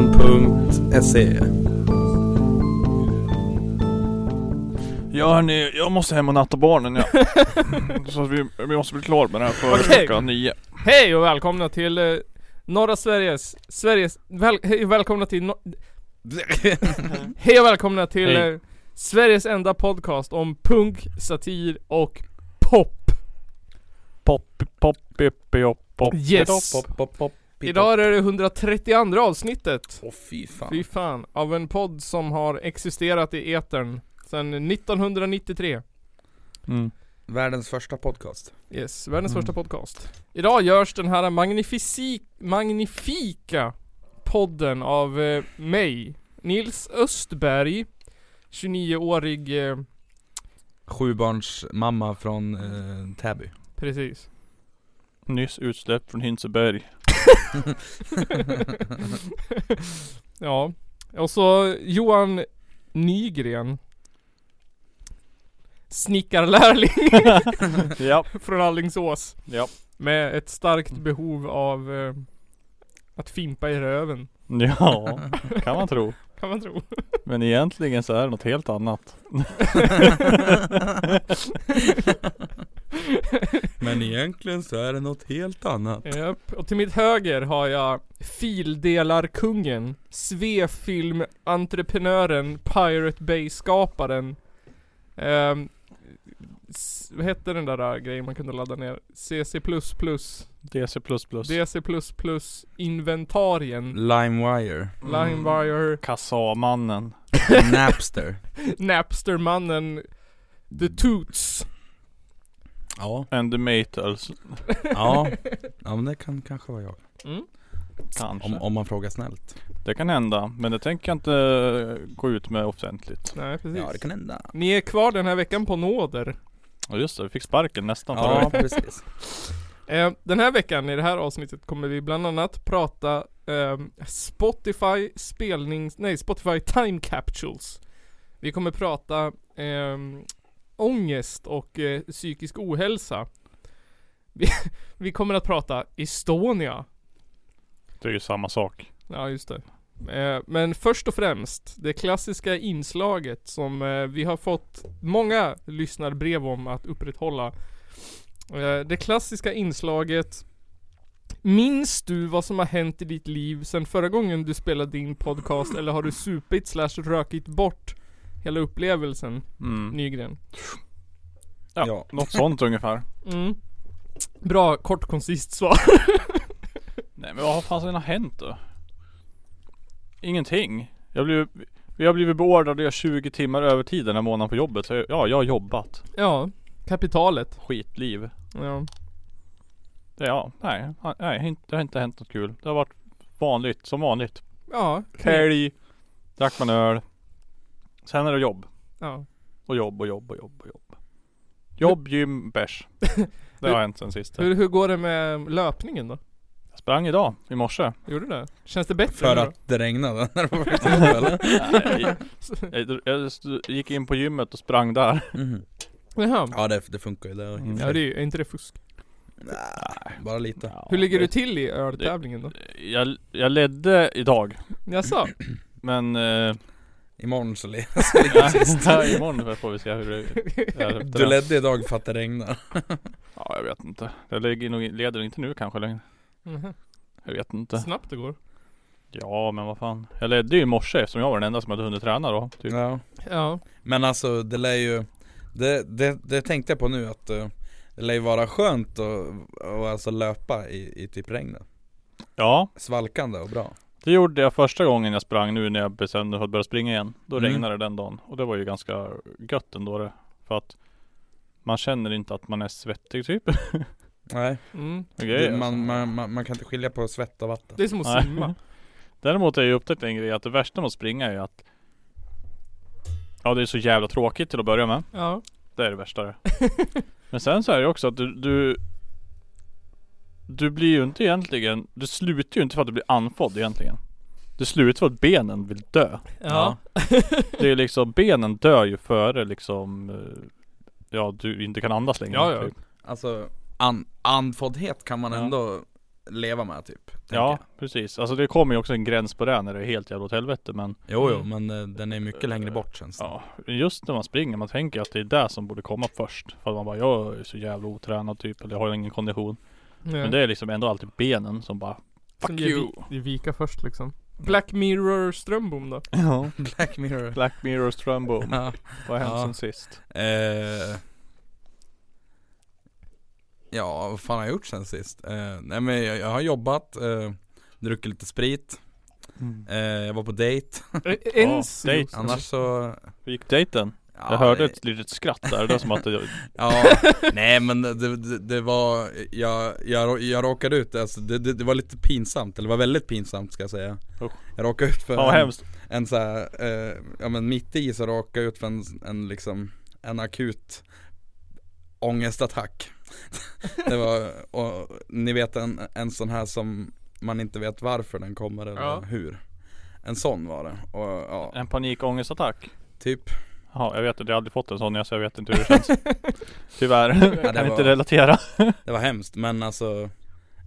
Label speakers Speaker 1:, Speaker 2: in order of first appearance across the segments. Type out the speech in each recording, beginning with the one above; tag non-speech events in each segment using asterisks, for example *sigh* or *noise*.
Speaker 1: Källarpodden.se
Speaker 2: Ja hörni, jag måste hem och natta barnen ja. Så att vi, vi måste bli klar med det här före
Speaker 3: Okej.
Speaker 2: klockan nio.
Speaker 3: Hej och välkomna till eh, norra Sveriges, Sveriges, väl, hej och välkomna till, no, hej och välkomna till
Speaker 2: Hej.
Speaker 3: eh, Sveriges enda podcast om punk, satir och pop.
Speaker 2: Poppy, poppy, poppy, poppy.
Speaker 3: Yes.
Speaker 1: Pop, pop, pop,
Speaker 3: Idag är det 132 avsnittet.
Speaker 1: Åh fy fan.
Speaker 3: Fy fan, av en podd som har existerat i etern sedan 1993.
Speaker 2: Mm.
Speaker 1: Världens första podcast.
Speaker 3: Yes, världens
Speaker 2: Mm.
Speaker 3: första podcast. Idag görs den här magnifici- magnifika podden av eh, mig, Nils Östberg, 29-årig, eh,
Speaker 1: Sjubarns mamma från eh, Täby.
Speaker 3: precis.
Speaker 2: Nyss utsläppt från Hinseberg.
Speaker 3: Ja. Och så Johan Nygren. Snickarlärling *laughs*
Speaker 2: ja,
Speaker 3: från Allingsås.
Speaker 2: ja. Mm.
Speaker 3: Med ett starkt behov av eh, att fimpa i röven,
Speaker 2: Ja, kan man tro.
Speaker 3: kan man tro.
Speaker 2: Men egentligen så är det något helt annat.
Speaker 1: *laughs* Men egentligen så är det något helt annat.
Speaker 3: Japp, och till mitt höger har jag fildelarkungen, svefilmentreprenören, Pirate Bay-skaparen. Ehm, s- vad hette den där, där äh, grejen man kunde ladda ner? CC++,
Speaker 2: DC++.
Speaker 3: DC++,
Speaker 1: *laughs*
Speaker 3: inventarien,
Speaker 1: LimeWire.
Speaker 2: Mm.
Speaker 3: Limewire,
Speaker 2: Kassamannen.
Speaker 1: Napster.
Speaker 3: Napstermannen, The Toots.
Speaker 1: *laughs* Ja.
Speaker 2: And the Matels.
Speaker 1: Ja. Ja men det kan kanske vara jag.
Speaker 3: Mm.
Speaker 2: Kanske.
Speaker 1: Om, om man frågar snällt.
Speaker 2: Det kan hända. Men det tänker jag inte gå ut med offentligt.
Speaker 3: Nej, precis.
Speaker 1: Ja det kan hända.
Speaker 3: Ni är kvar den här veckan på nåder.
Speaker 2: Ja just det, vi fick sparken nästan förra
Speaker 1: Ja
Speaker 2: veckan.
Speaker 1: precis.
Speaker 3: Eh, Den här veckan i det här avsnittet kommer vi bland annat prata ehm, Spotify spelnings... Nej, Spotify Time Capsules. Vi kommer prata ehm, ångest och eh, psykisk ohälsa. Vi, *laughs* vi kommer att prata Estonia.
Speaker 2: Det är ju samma sak.
Speaker 3: Ja, just det. Eh, Men först och främst, det klassiska inslaget som eh, vi har fått många lyssnarbrev om att upprätthålla. Eh, Det klassiska inslaget Minns du vad som har hänt i ditt liv sen förra gången du spelade din podcast eller har du supit slash rökit bort hela upplevelsen,
Speaker 2: Mm.
Speaker 3: Nygren?
Speaker 2: Ja.
Speaker 1: *laughs* Ja.
Speaker 2: Något sånt ungefär.
Speaker 3: Mm. Bra, kort, koncist svar.
Speaker 2: Nej men vad fasen har hänt då? Ingenting. Jag blev, vi har blivit beordrade att göra 20 timmar övertid den här månaden på jobbet. Så jag, ja, jag har jobbat.
Speaker 3: *laughs* Ja, kapitalet.
Speaker 2: Skitliv.
Speaker 3: Ja.
Speaker 2: Det- Ja, nej. ha- nej inte- det har inte hänt något kul. Det har varit vanligt, som vanligt.
Speaker 3: Ja.
Speaker 2: Helg. Drack man öl. Sen är det jobb.
Speaker 3: Ja.
Speaker 2: Och jobb och jobb och jobb och jobb. Jobb, gym, bärs. Det har hänt sen sist.
Speaker 3: Hur, hur går det med löpningen då?
Speaker 2: Jag sprang idag, i morse.
Speaker 3: Gjorde du det? Känns det bättre
Speaker 1: För
Speaker 3: nu
Speaker 1: att det regnade när det var faktiskt *laughs* eller?
Speaker 2: Nej, jag, jag st- gick in på gymmet och sprang där.
Speaker 1: Mhm.
Speaker 3: då? Jaha.
Speaker 1: Ja det, det funkar ju. Det är
Speaker 2: Mm.
Speaker 3: Ja det är, ju- är inte det fusk?
Speaker 1: Bara lite.
Speaker 3: Hur ligger du till i öltävlingen då?
Speaker 2: Jag, jag ledde idag.
Speaker 3: Jaså?
Speaker 2: Men...
Speaker 3: *laughs*
Speaker 2: Eh,
Speaker 1: Imorgon så le-
Speaker 2: nej, imorgon får vi se hur det
Speaker 3: *laughs*
Speaker 2: är
Speaker 1: *laughs*
Speaker 2: efter
Speaker 1: Du
Speaker 2: det.
Speaker 1: ledde idag för att det regnade.
Speaker 2: Ja, jag vet inte. Jag ligger nog, leder inte nu kanske längre.
Speaker 3: Mhm.
Speaker 2: Jag vet inte.
Speaker 3: Snabbt det går.
Speaker 2: Ja, men vad fan. Jag ledde ju i morse eftersom jag var den enda som hade hunnit träna då. Typ.
Speaker 1: Ja.
Speaker 3: Ja.
Speaker 1: Men alltså det lär ju Det, det, det tänkte jag på nu att eh, Det lär ju vara skönt att och alltså löpa i, i typ regnet
Speaker 2: Ja,
Speaker 1: Svalkande och bra
Speaker 2: det gjorde jag första gången jag sprang nu när jag bestämde mig för att börja springa igen. Då
Speaker 1: Mm.
Speaker 2: regnade det den dagen. Och det var ju ganska gött ändå det. För att man känner inte att man är svettig typ. *laughs*
Speaker 1: Nej,
Speaker 3: Mm.
Speaker 2: Okej,
Speaker 1: det,
Speaker 2: alltså.
Speaker 1: man, man, man, man kan inte skilja på svett och vatten
Speaker 3: Det är som att
Speaker 2: Nej.
Speaker 3: simma.
Speaker 2: Däremot har jag ju upptäckt en grej att det värsta med att springa är ju att Ja det är så jävla tråkigt till att börja med.
Speaker 3: Ja.
Speaker 2: Det är det värsta det. Men sen så är det ju också att du, du Du blir ju inte egentligen Du slutar ju inte för att du blir andfådd egentligen. Du slutar för att benen vill dö.
Speaker 3: Ja.
Speaker 2: Det är liksom *laughs* benen dör ju före liksom eh, Ja du inte kan andas längre.
Speaker 3: Ja, ja.
Speaker 2: Typ.
Speaker 1: Alltså an, andfåddhet kan man
Speaker 2: Ja.
Speaker 1: ändå leva med typ. tänker
Speaker 2: Ja,
Speaker 1: jag.
Speaker 2: precis. Alltså det kommer ju också en gräns på det här när det är helt jävla åt helvete men
Speaker 1: Jo, jo, men eh, den är mycket längre bort känns det.
Speaker 2: Ja, just när man springer, man tänker att det är det som borde komma först. För att man bara, jag är så jävla otränad typ, eller jag har ingen kondition. Men det är liksom ändå alltid benen som bara
Speaker 3: Som
Speaker 2: Fuck
Speaker 3: ger
Speaker 2: you!
Speaker 3: vi- ger vika först liksom. Black Mirror Strömbom då?
Speaker 2: *laughs* Ja.
Speaker 1: *laughs* Black Mirror.
Speaker 2: Black Mirror Strömbom,
Speaker 1: Ja.
Speaker 2: vad har hänt
Speaker 1: Ja.
Speaker 2: sen sist?
Speaker 1: Eh, ja, vad fan har jag gjort sen sist? Eh, nej men jag, jag har jobbat, eh, druckit lite sprit,
Speaker 2: Mm.
Speaker 1: eh, jag var på dejt.
Speaker 2: *laughs*
Speaker 3: Ä- Ens?
Speaker 2: dejt.
Speaker 3: just.
Speaker 1: Annars så...
Speaker 2: Hur gick dejten?
Speaker 1: Ja,
Speaker 2: Jag hörde ett litet skratt där, det var som att *laughs* det,
Speaker 1: Ja, nej men det, det, det var, jag, jag, jag råkade ut, alltså, det, det, det var lite pinsamt, eller det var väldigt pinsamt ska jag säga
Speaker 2: Usch.
Speaker 1: Jag råkade ut för
Speaker 2: fan vad
Speaker 1: en,
Speaker 2: hemskt.
Speaker 1: en så här, eh, ja men mitt i så råkade jag ut för en, en liksom, en akut ångestattack *laughs* Det var, och, ni vet en, en sån här som man inte vet varför den kommer eller
Speaker 3: Ja.
Speaker 1: hur En sån var det, och ja,
Speaker 2: En panikångestattack.
Speaker 1: typ
Speaker 2: Ja, jag vet inte, jag har aldrig fått en sån så jag vet inte hur det *laughs* känns. Tyvärr,
Speaker 1: det
Speaker 2: jag kan
Speaker 1: var-
Speaker 2: inte relatera.
Speaker 1: Det var hemskt men alltså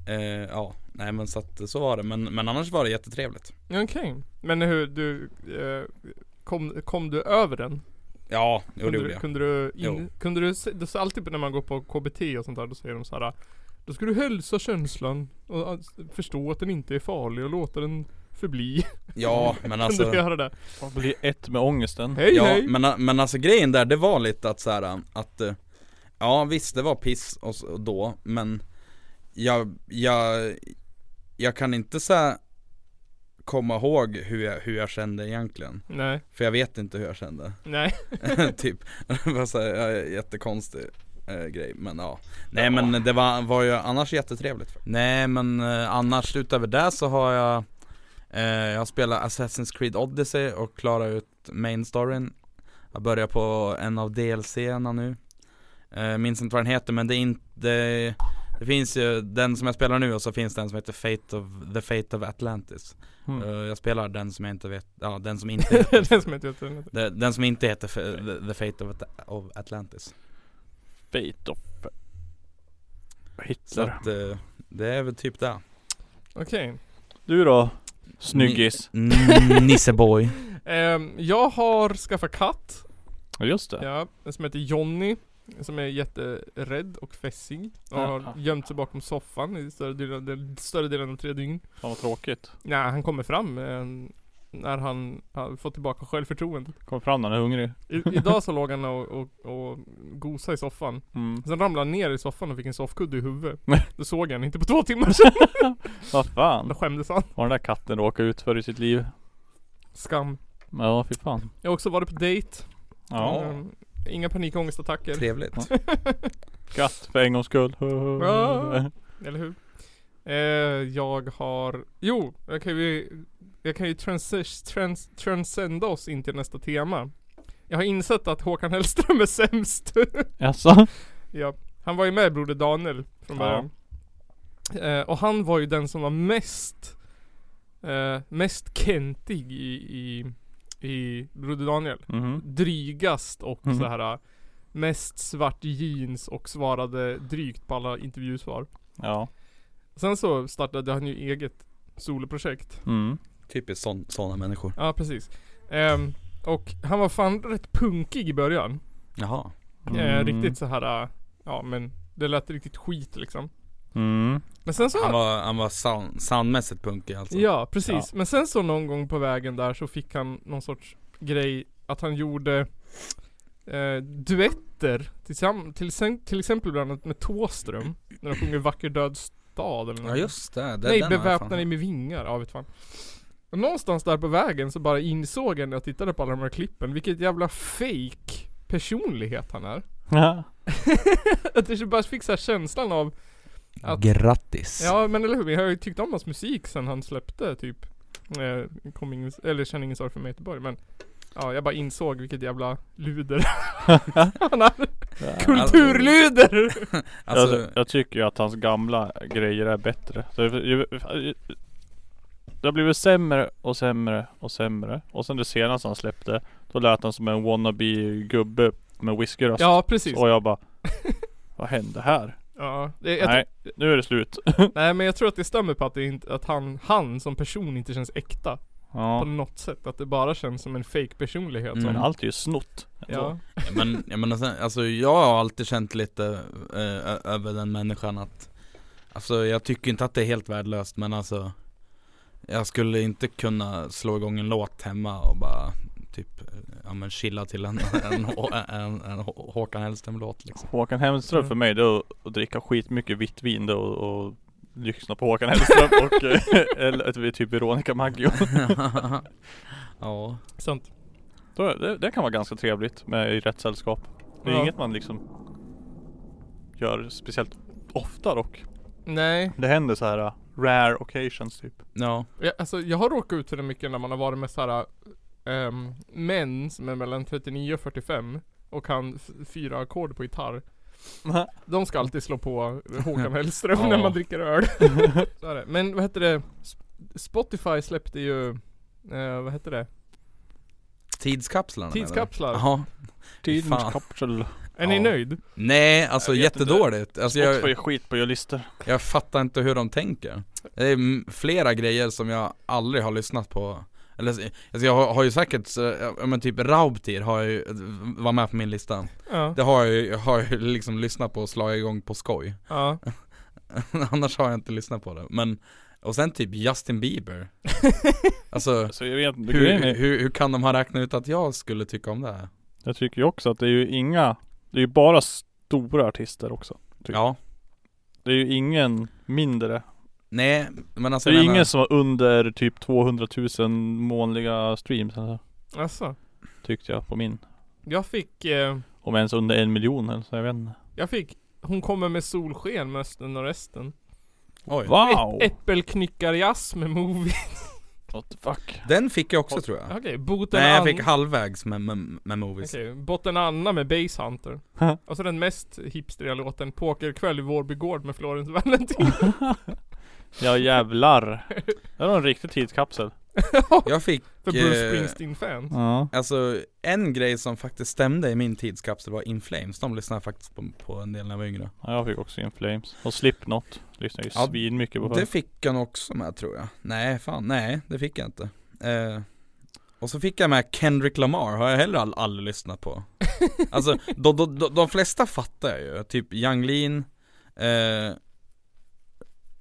Speaker 1: eh, Ja, nej men så att så var det men, men annars var det jättetrevligt
Speaker 3: Okej. Men hur, du, eh, kom, kom du över den?
Speaker 1: Ja, jo det
Speaker 3: kunde,
Speaker 1: gjorde
Speaker 3: du,
Speaker 1: jag
Speaker 3: kunde du, in,
Speaker 1: Jo.
Speaker 3: kunde du, se- det är alltid när man går på KBT och sånt där, då säger de så här. Då ska du hälsa känslan och att- förstå att den inte är farlig och låta den förbli. *laughs*
Speaker 1: Ja men
Speaker 3: Kunde du
Speaker 1: alltså
Speaker 3: göra det?
Speaker 2: Bli ett med ångesten.
Speaker 3: Hej
Speaker 1: ja,
Speaker 3: hej!
Speaker 1: men, men alltså grejen där det var lite att så här, att eh, Ja visst det var piss och, så- och då men jag, jag, jag kan inte så här komma ihåg hur jag, hur jag kände egentligen
Speaker 3: Nej,
Speaker 1: För jag vet inte hur jag kände
Speaker 3: nej.
Speaker 1: *laughs* typ, det var så här, ja, jättekonstig eh, grej men ja Nej men det var, var ju annars jättetrevligt Nej men eh, annars utöver det så har jag eh, Jag har spelat Assassin's Creed Odyssey och klarat ut main storyn Jag börjar på en av DLC'erna nu eh, Minns inte vad den heter men det är inte det finns ju den som jag spelar nu och så finns den som heter Fate of, The Fate of Atlantis
Speaker 2: Mm.
Speaker 1: Eh, Jag spelar den som jag inte vet, ja den som *laughs* inte
Speaker 3: *laughs* den som inte heter den.
Speaker 1: den, den som inte heter F- The, the Fate of, At- of Atlantis.
Speaker 2: Fate of...
Speaker 1: Så
Speaker 2: Hitler.
Speaker 1: att, eh, det är väl typ det.
Speaker 3: Okej.
Speaker 2: Du då? Snyggis.
Speaker 1: Mm, *laughs* Nisseboy.
Speaker 3: Ehm, jag har skaffat katt.
Speaker 2: Ja just det.
Speaker 3: Ja, en som heter Jonny. Som är jätterädd och fässig. Och
Speaker 2: Ja.
Speaker 3: har gömt sig bakom soffan i större delen, den större delen av tre dygn.
Speaker 2: Fan vad tråkigt.
Speaker 3: Nej, han kommer fram eh, när han har fått tillbaka självförtroendet.
Speaker 2: Kom fram när han är hungrig.
Speaker 3: I, idag så låg han och, och, och gosade i soffan.
Speaker 2: Mm.
Speaker 3: Sen ramlade han ner i soffan och fick en soffkudde i huvudet. Då såg jag han inte på två timmar sedan.
Speaker 2: Vad
Speaker 3: Då
Speaker 2: fan.
Speaker 3: skämdes han.
Speaker 2: Har den där katten råkat ut för i sitt liv?
Speaker 3: Skam.
Speaker 2: Ja fy fan.
Speaker 3: Jag har också varit på dejt.
Speaker 2: Ja.
Speaker 3: Eh, Inga panikångestattacker.
Speaker 1: Trevligt.
Speaker 2: Katt för en gångs skull. *laughs*
Speaker 3: Ja. Eller hur? Eh, jag har... Jo, jag kan ju, jag kan ju transis, trans, transcenda oss in till nästa tema. Jag har insett att Håkan Hellström är sämst.
Speaker 2: Jaså?
Speaker 3: ja. Han var ju med i Broder Daniel från
Speaker 2: Ja.
Speaker 3: början. Eh, och han var ju den som var mest eh, Mest kentig i, i, i Broder Daniel.
Speaker 2: Mhm.
Speaker 3: Drygast och
Speaker 2: Mhm.
Speaker 3: så här Mest svart jeans och svarade drygt på alla intervjusvar.
Speaker 2: Ja.
Speaker 3: Sen så startade han ju eget soloprojekt.
Speaker 2: Mm.
Speaker 1: Typiskt sån, såna människor.
Speaker 3: Ja, precis. Ehm, och han var fan rätt punkig i början.
Speaker 1: Jaha.
Speaker 3: Eh,
Speaker 2: Mm.
Speaker 3: riktigt så här. äh, ja men det lät riktigt skit liksom.
Speaker 2: Mm. *laughs*
Speaker 3: Men sen så...
Speaker 1: Han var, han var sound, soundmässigt punkig alltså.
Speaker 3: Ja, precis. Men sen så någon gång på vägen där så fick han någon sorts grej att han gjorde eh, duetter tillsamm- till, sen- till exempel bland annat med Tåström När de sjunger Vacker död stad eller något.
Speaker 1: Ja just det, det
Speaker 3: Nej,
Speaker 1: den har jag
Speaker 3: beväpna
Speaker 1: fan-
Speaker 3: dig med vingar. Ja, vet fan. Och någonstans där på vägen så bara insåg jag när jag tittade på alla de här klippen, vilket jävla fake personlighet han är. *laughs*
Speaker 2: Ja.
Speaker 3: Att jag bara fick så här känslan av, att-
Speaker 1: Grattis.
Speaker 3: ja men eller hur, jag har ju tyckt om hans musik sen han släppte typ, eh, kom ingen, eller känner ingen sorg för mig i Göteborg men Ja, jag bara insåg vilket jävla luder han är. Kulturluder!
Speaker 1: Alltså,
Speaker 2: jag, jag tycker ju att hans gamla grejer är bättre. Så, det- det har blivit sämre och sämre och sämre. Och sen det senaste han släppte, då lät han som en wannabe gubbe med whiskyröst.
Speaker 3: Ja precis.
Speaker 2: och jag bara, vad hände här?
Speaker 3: *laughs* Ja, det, jag,
Speaker 2: Nej, nu är det slut.
Speaker 3: Nej men jag tror att det stämmer på att, det inte, att han, han som person inte känns äkta på
Speaker 2: *laughs* Ja.
Speaker 3: något sätt. Att det bara känns som en fake personlighet
Speaker 1: Mm.
Speaker 2: Men
Speaker 3: som,
Speaker 2: allt är ju snott.
Speaker 3: ja.
Speaker 1: Men jag menar sen, alltså jag har alltid känt lite eh, ö- över den människan att Alltså jag tycker inte att det är helt värdelöst men alltså Jag skulle inte kunna slå igång en låt hemma och bara typ eh, Ja men chilla till en, *laughs* en, en, en, en Hå- Håkan Hellström-låt
Speaker 2: *laughs*
Speaker 1: liksom
Speaker 2: Håkan Hemström
Speaker 3: Mm.
Speaker 2: för mig det är att- att dricka skitmycket vitt vin då och, och lyssna på Håkan Hellström och eh, eller att vi är typ Veronica Maggio.
Speaker 1: Ja
Speaker 3: sant.
Speaker 2: Då, är- det, det kan vara ganska trevligt med i rätt sällskap. Det är
Speaker 3: Ja.
Speaker 2: inget man liksom gör speciellt ofta dock.
Speaker 3: Nej,
Speaker 2: Det händer så här eh, rare occasions typ.
Speaker 1: Ja
Speaker 3: jag, alltså jag har råkat ut för det mycket när man har varit med såhär um, män som är mellan 39 och 45 och kan f- fyra ackord på gitarr. De ska alltid slå på
Speaker 1: *laughs*
Speaker 3: Håkan Hellström
Speaker 1: Ja.
Speaker 3: när man
Speaker 1: *laughs*
Speaker 3: dricker öl. så är det. Men vad heter det? Sp- Spotify släppte ju, eh, vad heter det?
Speaker 1: Tidskapslarna menar du?
Speaker 3: Tidskapslar.
Speaker 1: Ja Fan.
Speaker 2: Tidskapsel.
Speaker 3: Är ni
Speaker 1: Ja.
Speaker 3: nöjd?
Speaker 1: Nej alltså
Speaker 2: Jag vet inte.
Speaker 1: jättedåligt alltså, jag,
Speaker 2: Spotify är skit på att göra listor.
Speaker 1: Jag fattar inte hur de tänker. Det är m- flera grejer som jag aldrig har lyssnat på. Eller, alltså jag har, har ju säkert, eh, ja men typ Raubtir har jag ju, var med på min lista.
Speaker 3: Ja.
Speaker 1: Det har jag ju, har jag ju liksom lyssnat på och slagit igång på skoj. *laughs*
Speaker 3: ja.
Speaker 1: Annars har jag inte lyssnat på det. Men, och sen typ Justin Bieber. Alltså,
Speaker 2: Alltså jag vet inte. grejen
Speaker 1: hur,
Speaker 2: är-
Speaker 1: hur, hur kan de ha räknat ut att jag skulle tycka om det här?
Speaker 2: Jag tycker ju också att det är ju inga Det är ju bara stora artister också Typ.
Speaker 1: Ja,
Speaker 2: Det är ju ingen mindre
Speaker 1: nej men alltså
Speaker 2: Det är
Speaker 1: jag
Speaker 2: ju
Speaker 1: menar-
Speaker 2: ingen som har under typ 200 000 månliga streams alltså,
Speaker 3: Alltså,
Speaker 2: Tyckte jag på min
Speaker 3: jag fick, eh,
Speaker 2: Om ens under en miljon eller så jag vet inte
Speaker 3: jag fick Hon kommer med solsken med östen och resten.
Speaker 1: Oj.
Speaker 2: Wow!
Speaker 3: Ä- Äppelknickarjazz med movie. *laughs*
Speaker 2: What the fuck?
Speaker 1: Den fick jag också tror jag.
Speaker 3: Okej, Boten
Speaker 1: Nej jag
Speaker 3: Ann-
Speaker 1: fick halvvägs med, med, med Movies.
Speaker 3: Okej, Botten Anna med Base Hunter. Och så den mest hipstriga låten, Pokerkväll i Vårby Gård med Florence *laughs* Valentin.
Speaker 1: *laughs*
Speaker 2: Ja jävlar Det var en riktig tidskapsel
Speaker 1: Jag fick
Speaker 3: För
Speaker 1: Eh,
Speaker 3: Bruce Springsteen-fans.
Speaker 2: Ja
Speaker 1: Alltså en grej som faktiskt stämde i min tidskapsel var In Flames, de lyssnade jag faktiskt på, på en del när jag var yngre
Speaker 2: Jag fick också In Flames Och Slipknot Lyssnade ju
Speaker 1: Ja,
Speaker 2: svin mycket på
Speaker 1: Det
Speaker 2: förr
Speaker 1: fick jag nog också med tror jag Nej fan, nej det fick jag inte eh, Och så fick jag med Kendrick Lamar, har jag heller all, aldrig lyssnat
Speaker 2: *laughs*
Speaker 1: på Alltså de, de, de, de flesta fattar jag ju, typ Yung Lean eh,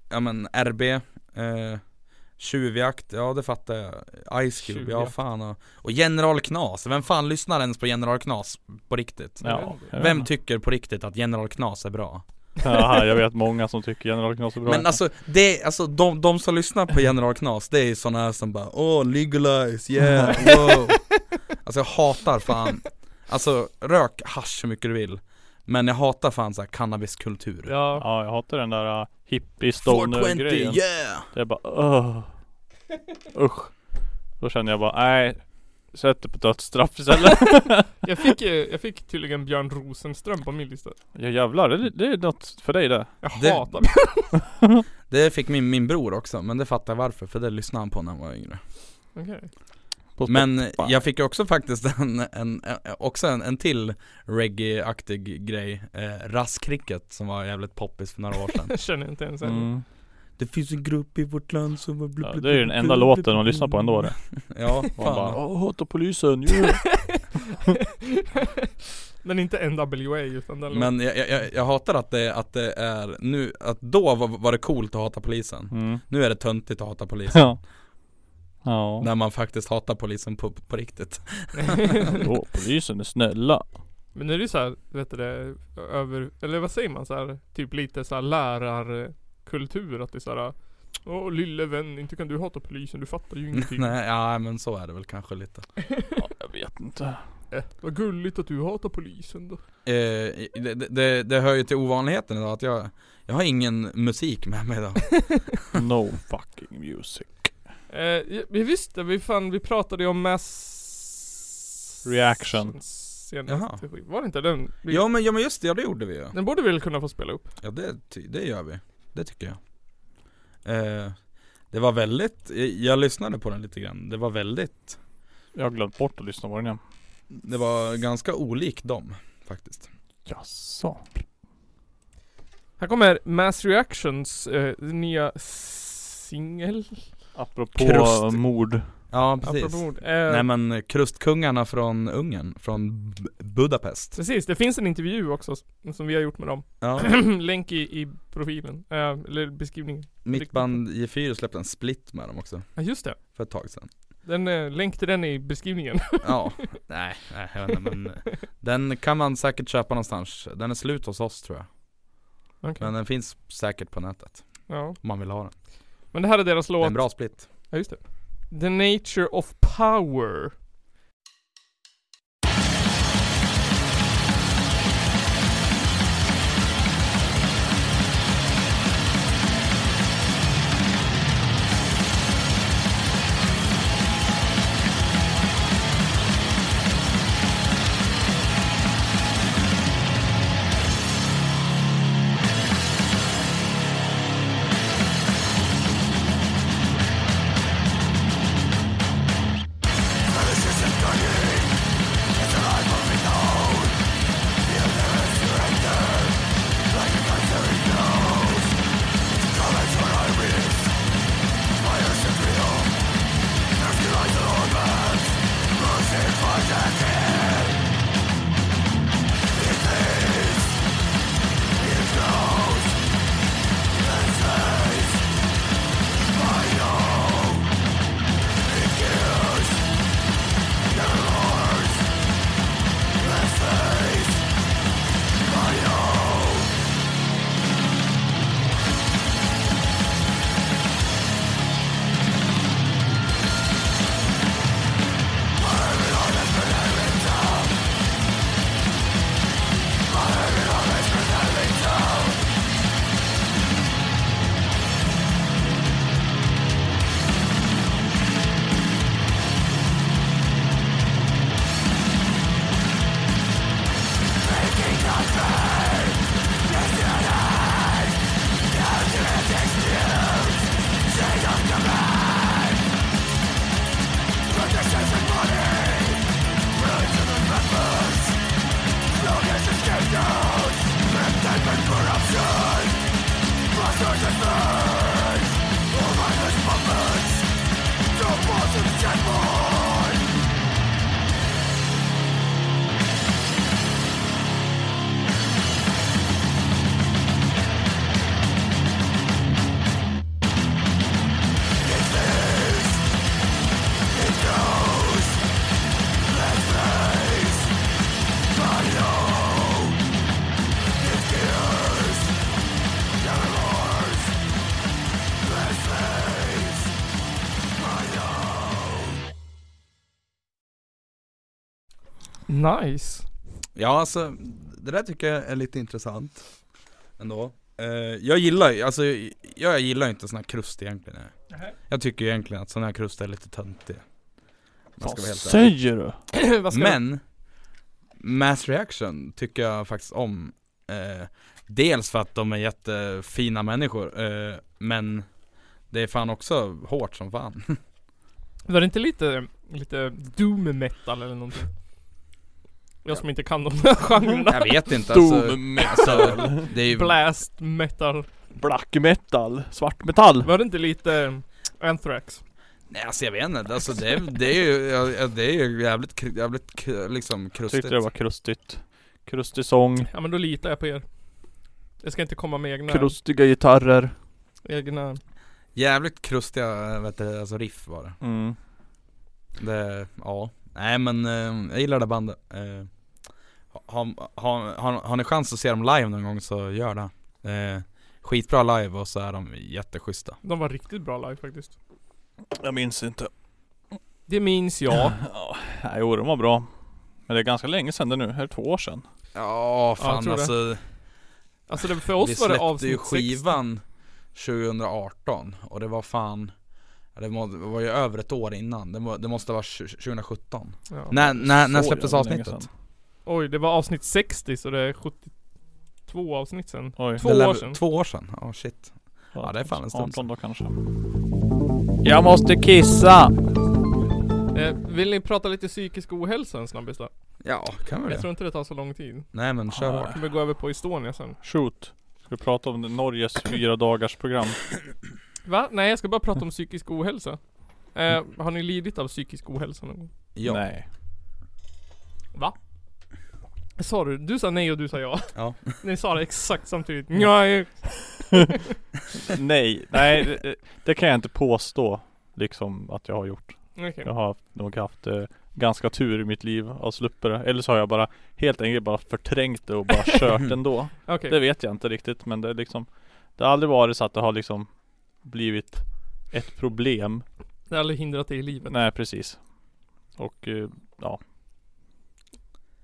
Speaker 1: Ja men RB eh, Tjuvjakt, ja det fattar jag Ice Cube, ja
Speaker 3: Tjuvjakt.
Speaker 1: fan och, och General Knas, vem fan lyssnar ens på General Knas på riktigt?
Speaker 2: Ja, jag vet
Speaker 1: Vem
Speaker 2: inte.
Speaker 1: tycker på riktigt att General Knas är bra?
Speaker 2: *laughs* Ja, jag vet många som tycker General Knas är bra
Speaker 1: Men alltså, det, alltså de, de som lyssnar på General Knas, det är sådana här som bara Åh, legalize, yeah,
Speaker 2: *laughs*
Speaker 1: wow Alltså jag hatar fan Alltså rök hasch hur mycket du vill Men jag hatar fan såhär cannabiskultur
Speaker 3: Ja.
Speaker 2: Ja jag hatar den där uh, hippie stoner grejen
Speaker 1: yeah!
Speaker 2: Det är bara öh.
Speaker 1: *laughs*
Speaker 2: Usch. Då känner jag bara nej. Sätt det på dödsstraff istället.
Speaker 3: Jag fick, eh, jag fick tydligen Björn Rosenström på min lista.
Speaker 2: ja jävlar det, det är något för dig det.
Speaker 3: Jag
Speaker 1: Det-
Speaker 3: hatar
Speaker 1: Det fick min, min bror också, men det fattar jag varför, för det lyssnade han på när han var yngre
Speaker 3: Okej. *laughs*
Speaker 2: På
Speaker 1: Men
Speaker 2: Spotify.
Speaker 1: jag fick ju också faktiskt *laughs* en, en, en- också en, en till reggae-aktig grej eh, Raskricket som var jävligt poppis för några år sedan
Speaker 3: Jag känner inte ens *laughs* en.
Speaker 2: Mm.
Speaker 1: Det finns en grupp i vårt land som var
Speaker 2: Ja, det är ju den enda låten man lyssnar på ändå det. *laughs*
Speaker 1: Ja,
Speaker 2: Man bara
Speaker 1: fan.
Speaker 2: åh hata polisen ju.
Speaker 3: Den är inte NWA utan den
Speaker 1: Men jag, jag- jag, jag hatar att det, att det är nu, att då var, var det coolt att hata polisen *laughs*
Speaker 2: Mm.
Speaker 1: Nu är det töntigt att hata polisen
Speaker 2: Ja. *laughs* Ja.
Speaker 1: När man faktiskt hatar polisen på, på
Speaker 2: *laughs*
Speaker 1: riktigt
Speaker 2: Åh polisen är snälla.
Speaker 3: Men nu är det så här, vet du det, över, eller vad säger man så här, typ lite så här lärarkultur att det är så här Åh lille vän, inte kan du hata polisen, du fattar ju
Speaker 2: Mm.
Speaker 1: *laughs*
Speaker 3: ingenting.
Speaker 1: Nej, ja men så är det väl kanske lite
Speaker 2: Ja, jag vet inte.
Speaker 3: Eh, Vad gulligt att du hatar polisen då.
Speaker 1: eh, det, det- det, det hör ju till ovanligheten idag att jag Jag har ingen musik med mig
Speaker 2: *laughs*
Speaker 1: idag
Speaker 2: No fucking music.
Speaker 3: Eh, ja, vi visste, vi fan, vi pratade ju om mass...
Speaker 2: Reaction.
Speaker 3: Senast.
Speaker 1: Jaha.
Speaker 3: Var det inte den? Vi,
Speaker 1: Ja men, ja, men just det, ja, det gjorde vi ju
Speaker 3: Den borde vi väl kunna få spela upp?
Speaker 1: Ja det, ty- det gör vi, det tycker jag eh, Det var väldigt, eh, jag lyssnade på den lite grann, det var väldigt
Speaker 2: Jag har glömt bort att lyssna på den igen.
Speaker 1: Det var ganska olik dem faktiskt
Speaker 2: Jaså?
Speaker 3: Här kommer Mass Reactions eh, nya singel.
Speaker 2: Apropå
Speaker 1: Krust.
Speaker 2: mord.
Speaker 1: Ja precis
Speaker 3: Apropå ord. Eh,
Speaker 1: Nej men krustkungarna från Ungern, från B- Budapest
Speaker 3: Precis, det finns en intervju också s- som vi har gjort med dem.
Speaker 1: Ja,
Speaker 3: *clears throat*
Speaker 1: *clears throat*
Speaker 3: Länk i, i profilen, eh, eller beskrivningen.
Speaker 1: mitt band J4 släppte en split med dem också
Speaker 3: Ja just det.
Speaker 1: för ett tag sedan
Speaker 3: Den, eh, länk till den i beskrivningen.
Speaker 1: Ja, *laughs* nej, nej jag vet inte, men eh, Den kan man säkert köpa någonstans, den är slut hos oss tror jag
Speaker 3: Okej.
Speaker 1: Men den finns säkert på nätet
Speaker 3: *laughs* Ja.
Speaker 1: om man vill ha den
Speaker 3: Men det här är deras
Speaker 1: Det är
Speaker 3: låt.
Speaker 1: en bra split
Speaker 3: Ja just det. The Nature of Power. Nice.
Speaker 1: Ja alltså, det där tycker jag är lite intressant Ändå Eh, Jag gillar ju, alltså jag, jag gillar ju inte sån här krust egentligen Jag tycker ju egentligen att sån här krust är lite töntig Om jag
Speaker 2: Vad
Speaker 1: ska vara helt ärlig.
Speaker 2: säger du?
Speaker 3: *clears throat* Vad ska
Speaker 1: Men Mass Reaction tycker jag faktiskt om eh, Dels för att de är jättefina människor eh, Men det är fan också hårt som
Speaker 2: *laughs*
Speaker 1: fan
Speaker 3: Var det inte lite, lite doom metal eller någonting? Jag som inte kan de här genrerna.
Speaker 1: Jag vet inte alltså,
Speaker 2: Doom
Speaker 1: alltså
Speaker 2: metal.
Speaker 1: det är ju,
Speaker 3: *laughs* Blast metal.
Speaker 2: Black metal. Svart metall.
Speaker 3: Var det inte lite eh, Anthrax?
Speaker 1: Nej alltså jag vet inte, alltså det, är- det är ju, ja, ja, det är ju jävligt, kr- jävligt kr- liksom krustigt
Speaker 2: Tyckte det var krustigt. Krustig sång.
Speaker 3: Ja men då litar jag på er. Jag ska inte komma med egna,
Speaker 2: Krustiga gitarrer.
Speaker 3: egna
Speaker 1: Jävligt krustiga, vet du, alltså riff var det
Speaker 2: Mm.
Speaker 1: Det, ja. Nej men eh, jag gillar det bandet. Eh, har, har, har, har ni chans att se dem live någon gång så gör det. Eh, skitbra live och så är de jätteschyssta.
Speaker 3: De var riktigt bra live faktiskt.
Speaker 2: Jag minns inte.
Speaker 3: Det minns jag.
Speaker 2: Ja, nej, jo de var bra. Men det är ganska länge sedan det nu. Är det två år sedan?
Speaker 1: Ja
Speaker 3: Ja, jag
Speaker 1: fan
Speaker 3: tror det.
Speaker 1: alltså.
Speaker 3: Alltså det, för
Speaker 1: Vi
Speaker 3: oss var det
Speaker 1: släppte ju
Speaker 3: avsnitt
Speaker 1: skivan 2018 och det var fan det må- det var ju över ett år innan, det, må, det måste vara 2017
Speaker 3: 60. Ja.
Speaker 1: När, när, när
Speaker 2: Så
Speaker 1: släpptes
Speaker 2: jävla länge
Speaker 1: avsnittet?
Speaker 2: sedan.
Speaker 3: Oj, det var avsnitt 60 så det är 72 avsnitt sen.
Speaker 2: Oj.
Speaker 3: Två
Speaker 1: Det lär-
Speaker 3: år sedan.
Speaker 1: Två år sedan, ja shit Ja, det är fan en stund
Speaker 2: 18 då kanske. Jag måste kissa!
Speaker 3: Eh, vill ni prata lite psykisk ohälsa en snabbis då?
Speaker 1: Ja, kan vi
Speaker 3: Jag
Speaker 1: det? Ah.
Speaker 3: tror inte det tar så lång tid.
Speaker 1: Nej men kör
Speaker 2: Ja.
Speaker 1: hårt
Speaker 3: Kommer gå över på Estonia sen.
Speaker 2: Shoot. Ska vi prata om det- Norges fyra dagars program?
Speaker 3: Va? Nej jag ska bara prata om psykisk ohälsa. Eh, har ni lidit av psykisk ohälsa någon gång?
Speaker 1: Ja.
Speaker 2: Nej.
Speaker 3: Va? Sa du? Du sa nej och du sa ja.
Speaker 1: *laughs* Ja.
Speaker 3: *laughs* Ni sa det exakt samtidigt. Nej.
Speaker 2: *laughs* Nej, nej det, det kan jag inte påstå liksom att jag har gjort.
Speaker 3: Okej.
Speaker 2: Jag har nog haft eh, ganska tur i mitt liv att slippa det. Eller så har jag bara helt enkelt bara förträngt det och bara
Speaker 1: *laughs*
Speaker 2: kört ändå.
Speaker 3: Okej.
Speaker 2: Det vet jag inte riktigt men det är liksom Det har aldrig varit så att det har liksom Blivit ett problem
Speaker 3: Det har aldrig hindrat dig i livet.
Speaker 2: Nej precis Och eh, ja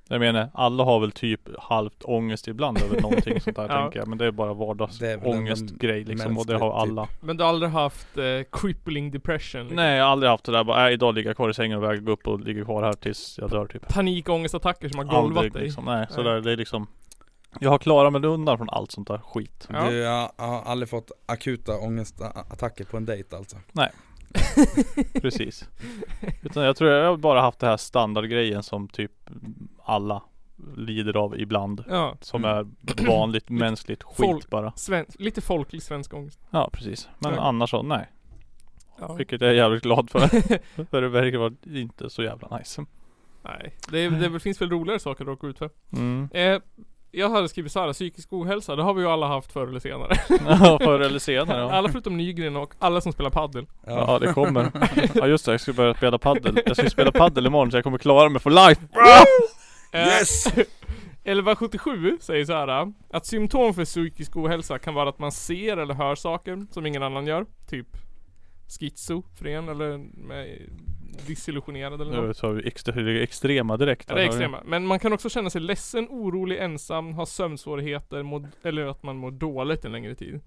Speaker 2: Jag menar alla har väl typ halvt ångest ibland över någonting sånt där
Speaker 3: *laughs* Ja.
Speaker 2: tänker jag Men det är bara
Speaker 1: Det är väl en
Speaker 2: vardagsångestgrej liksom och det
Speaker 1: mänsklig
Speaker 2: har
Speaker 1: typ.
Speaker 2: alla
Speaker 3: Men du har aldrig haft eh, crippling depression? Liksom.
Speaker 2: Nej jag har aldrig haft det där bara äh, idag ligger jag kvar i sängen och väger gå upp och ligger kvar här tills jag dör typ
Speaker 3: Panikångestattacker som har golvat
Speaker 2: Aldrig,
Speaker 3: dig?
Speaker 2: liksom, nej så där, det är liksom Jag har klarat mig undan från allt sånt där skit
Speaker 3: Ja.
Speaker 1: Du har har aldrig fått akuta ångestattacker på en dejt alltså?
Speaker 2: Precis. Utan jag tror jag har bara haft det här standardgrejen som typ alla lider av ibland.
Speaker 3: Ja.
Speaker 2: Som
Speaker 1: Mm.
Speaker 2: är vanligt mänskligt skit
Speaker 3: folk-
Speaker 2: bara.
Speaker 3: Sven, lite folklig svensk ångest.
Speaker 2: Ja precis. Men
Speaker 3: Ja.
Speaker 2: annars så, nej.
Speaker 3: Ja.
Speaker 2: Vilket jag är jävligt glad
Speaker 3: *laughs*
Speaker 2: för. för det verkar vara inte så jävla nice.
Speaker 3: Nej. Det, är- det är väl- finns väl roligare saker att råka ut för.
Speaker 2: Mm.
Speaker 3: Eh, jag hade skrivit såhär, psykisk ohälsa, det har vi ju alla haft förr eller senare.
Speaker 2: *laughs* *laughs* Ja, Förr eller senare. Ja.
Speaker 3: Alla förutom Nygren och alla som spelar paddel.
Speaker 2: ja det kommer. Ja just det, jag ska börja spela paddel. Jag ska spela paddel imorgon så jag kommer klara mig for life.
Speaker 3: Eh, 1177 säger så här eh, att symptom för psykisk ohälsa kan vara att man ser eller hör saker som ingen annan gör. Typ schizofren eller eh, desillusionerad eller något.
Speaker 2: Nu tar vi extre- extrema direkt.
Speaker 3: Ja, det är extrema. Men man kan också känna sig ledsen, orolig, ensam, ha sömnsvårigheter må, eller att man mår dåligt en längre tid.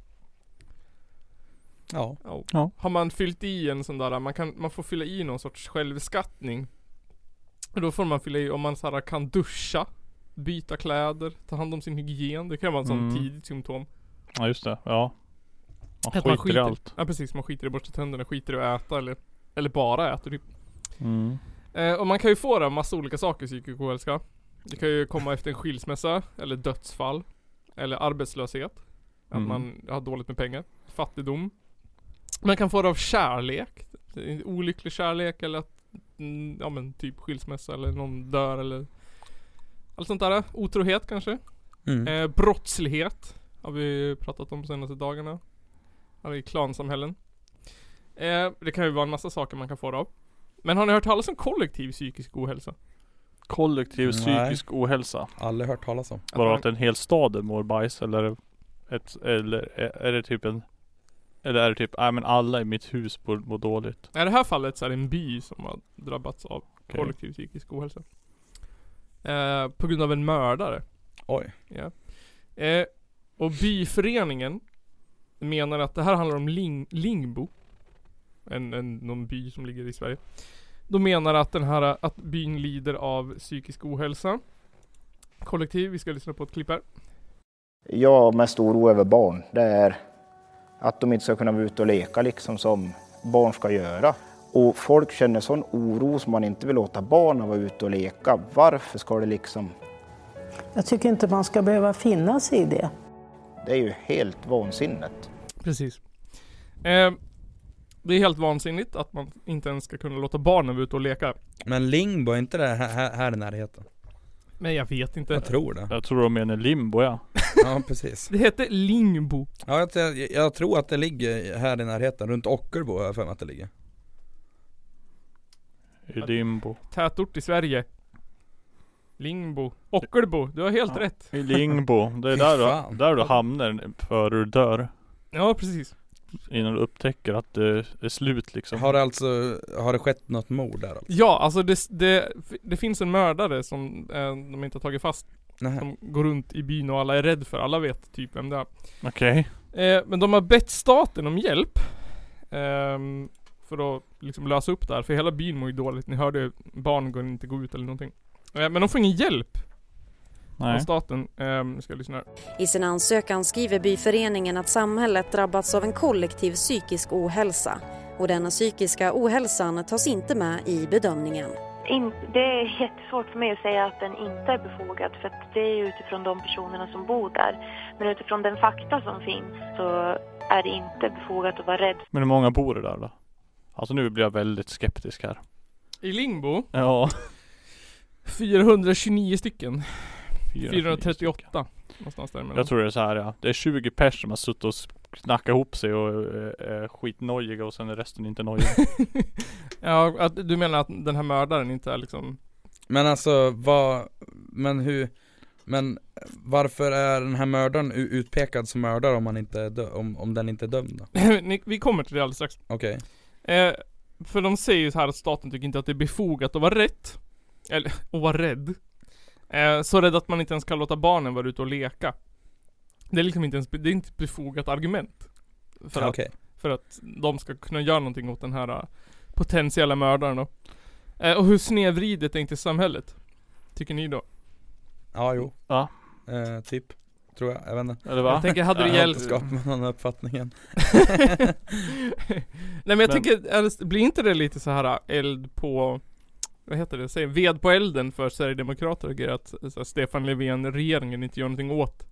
Speaker 1: Ja.
Speaker 3: Ja.
Speaker 2: Ja.
Speaker 3: Har man fyllt i en sån där, man, kan, man får fylla i någon sorts självskattning. Och Då får man fylla i om man så här, kan duscha, byta kläder, ta hand om sin hygien. Det kan vara en sån
Speaker 2: Mm.
Speaker 3: tidigt symptom.
Speaker 2: Ja just det, ja. Man
Speaker 3: Att
Speaker 2: skiter, i allt.
Speaker 3: Ja precis, man skiter i att borsta tänderna, skiter i att äta eller, eller bara äter typ.
Speaker 2: Mm.
Speaker 3: Eh, och man kan ju få det av massa olika saker psykisk ohälsa. Det kan ju komma efter en skilsmässa, eller dödsfall, eller arbetslöshet. Att
Speaker 2: Mm.
Speaker 3: man har dåligt med pengar. Fattigdom. Man kan få det av kärlek. En Olycklig kärlek eller att, mm, ja men typ skilsmässa eller någon dör eller Allt sånt där. Otrohet kanske.
Speaker 1: Mm.
Speaker 3: Eh, brottslighet har vi pratat om de senaste dagarna. Här I klansamhällen. Eh, det kan ju vara en massa saker man kan få det av. Men har ni hört talas om kollektiv psykisk ohälsa?
Speaker 2: Kollektiv
Speaker 1: Nej.
Speaker 2: psykisk ohälsa.
Speaker 1: Aldrig hört talas om.
Speaker 3: Att
Speaker 2: Bara
Speaker 3: man-
Speaker 2: att en hel stad mår bajs eller ett, eller är- är det typ en eller är det typ, nej men alla i mitt hus mår, mår dåligt.
Speaker 3: Nej, I det här fallet så är det en by som har drabbats av
Speaker 2: Okej.
Speaker 3: kollektiv psykisk ohälsa. Eh, på grund av en mördare.
Speaker 1: Oj.
Speaker 3: Ja. Eh, och byföreningen menar att det här handlar om Ling- Lingbo. En, en, någon by som ligger i Sverige. De menar att den här, att byn lider av psykisk ohälsa. Kollektiv, vi ska lyssna på ett klipp här.
Speaker 4: Jag med stor oro över barn, det är att de inte ska kunna vara ute och leka liksom som barn ska göra. Och folk känner sån oro som man inte vill låta barnen vara ute och leka. Varför ska det liksom?
Speaker 5: Jag tycker inte man ska behöva finna sig i det.
Speaker 4: Det är ju helt vansinnigt.
Speaker 3: Precis. Eh, det är helt vansinnigt att man inte ens ska kunna låta barnen vara ute och leka.
Speaker 1: Men Lingbo, är inte det här, här, här i närheten?
Speaker 3: Men jag vet inte.
Speaker 1: Jag tror
Speaker 3: *laughs*
Speaker 1: det.
Speaker 2: Jag tror de menar limbo ja.
Speaker 1: Ja precis.
Speaker 3: Det hette Lingbo.
Speaker 1: Ja, jag, jag, jag tror att det ligger här i närheten, runt Ockelbo har jag för mig att det ligger.
Speaker 2: I limbo.
Speaker 3: Tätort i Sverige. Lingbo. Ockelbo. Du har helt
Speaker 2: Ja.
Speaker 3: rätt.
Speaker 2: I limbo. Det är
Speaker 1: Fy
Speaker 2: där
Speaker 1: fan.
Speaker 2: du, där du hamnar före du dör.
Speaker 3: Ja, precis.
Speaker 2: Innan du upptäcker att det är slut liksom.
Speaker 1: Har det alltså, har det skett något mord där alltså?
Speaker 3: Ja, alltså det, det, det finns en mördare som eh, de inte har tagit fast.
Speaker 1: Nej.
Speaker 3: Som går runt i byn och alla är rädd för. Alla vet typ vem det är.
Speaker 2: Okej.
Speaker 3: Eh, men de har bett staten om hjälp. ehm, för att liksom lösa upp det här. För hela byn mår ju dåligt. Ni hörde ju, barn går inte gå ut eller någonting. Eh, men de får ingen hjälp av
Speaker 2: Nej.
Speaker 3: staten. Ehm, ska jag lyssna här.
Speaker 6: I sin ansökan skriver byföreningen att samhället drabbats av en kollektiv psykisk ohälsa och denna psykiska ohälsan tas inte med i bedömningen.
Speaker 7: In, det är jättesvårt för mig att säga att den inte är befogad för att det är ju utifrån de personerna som bor där. Men utifrån den fakta som finns så är det inte befogat att vara rädd.
Speaker 2: Men hur många bor det där då? Alltså nu blir jag väldigt skeptisk här.
Speaker 3: I Lingbo,
Speaker 2: Ja.
Speaker 3: 429 stycken.
Speaker 2: 438.
Speaker 3: 438. Någonstans däremellan.
Speaker 2: Jag tror det är så här ja. Det är 20 pers som har suttit och knackat ihop sig och eh, är skitnojiga och sen är resten inte
Speaker 3: *laughs*
Speaker 2: nojiga.
Speaker 3: Ja, att, du menar att den här mördaren inte är liksom... *laughs*
Speaker 1: Men alltså vad, men hur, men varför är den här mördaren u- utpekad som mördare om, han inte är dö- om, om den inte är dömd då?
Speaker 3: Ni- Vi kommer till det alldeles strax.
Speaker 1: Okej,
Speaker 3: Eh, för de säger ju så här att staten tycker inte att det är befogat att vara rätt. Eller, att vara rädd. Eh, så rädd att man inte ens kan låta barnen vara ute och leka. Det är liksom inte ens, det är inte ett befogat argument. För att,
Speaker 1: okej.
Speaker 3: för att de ska kunna göra någonting åt den här eh, potentiella mördaren då. Eh, och hur snedvridet är inte samhället? Tycker ni då?
Speaker 1: Ja jo.
Speaker 2: Ja.
Speaker 1: Eh, typ, tror jag, jag vet inte.
Speaker 2: Eller
Speaker 3: Jag
Speaker 2: va?
Speaker 3: tänker, hade
Speaker 1: Jag
Speaker 3: det
Speaker 1: har inte
Speaker 3: hjälpt...
Speaker 1: skapat någon uppfattning än.
Speaker 3: *laughs* Nej men jag
Speaker 2: Men-
Speaker 3: tycker, eller, blir inte det lite så här äh, eld på, vad heter det, säg ved på elden för Sverigedemokrater och grejer att äh, så här, Stefan Löfven-regeringen inte gör någonting åt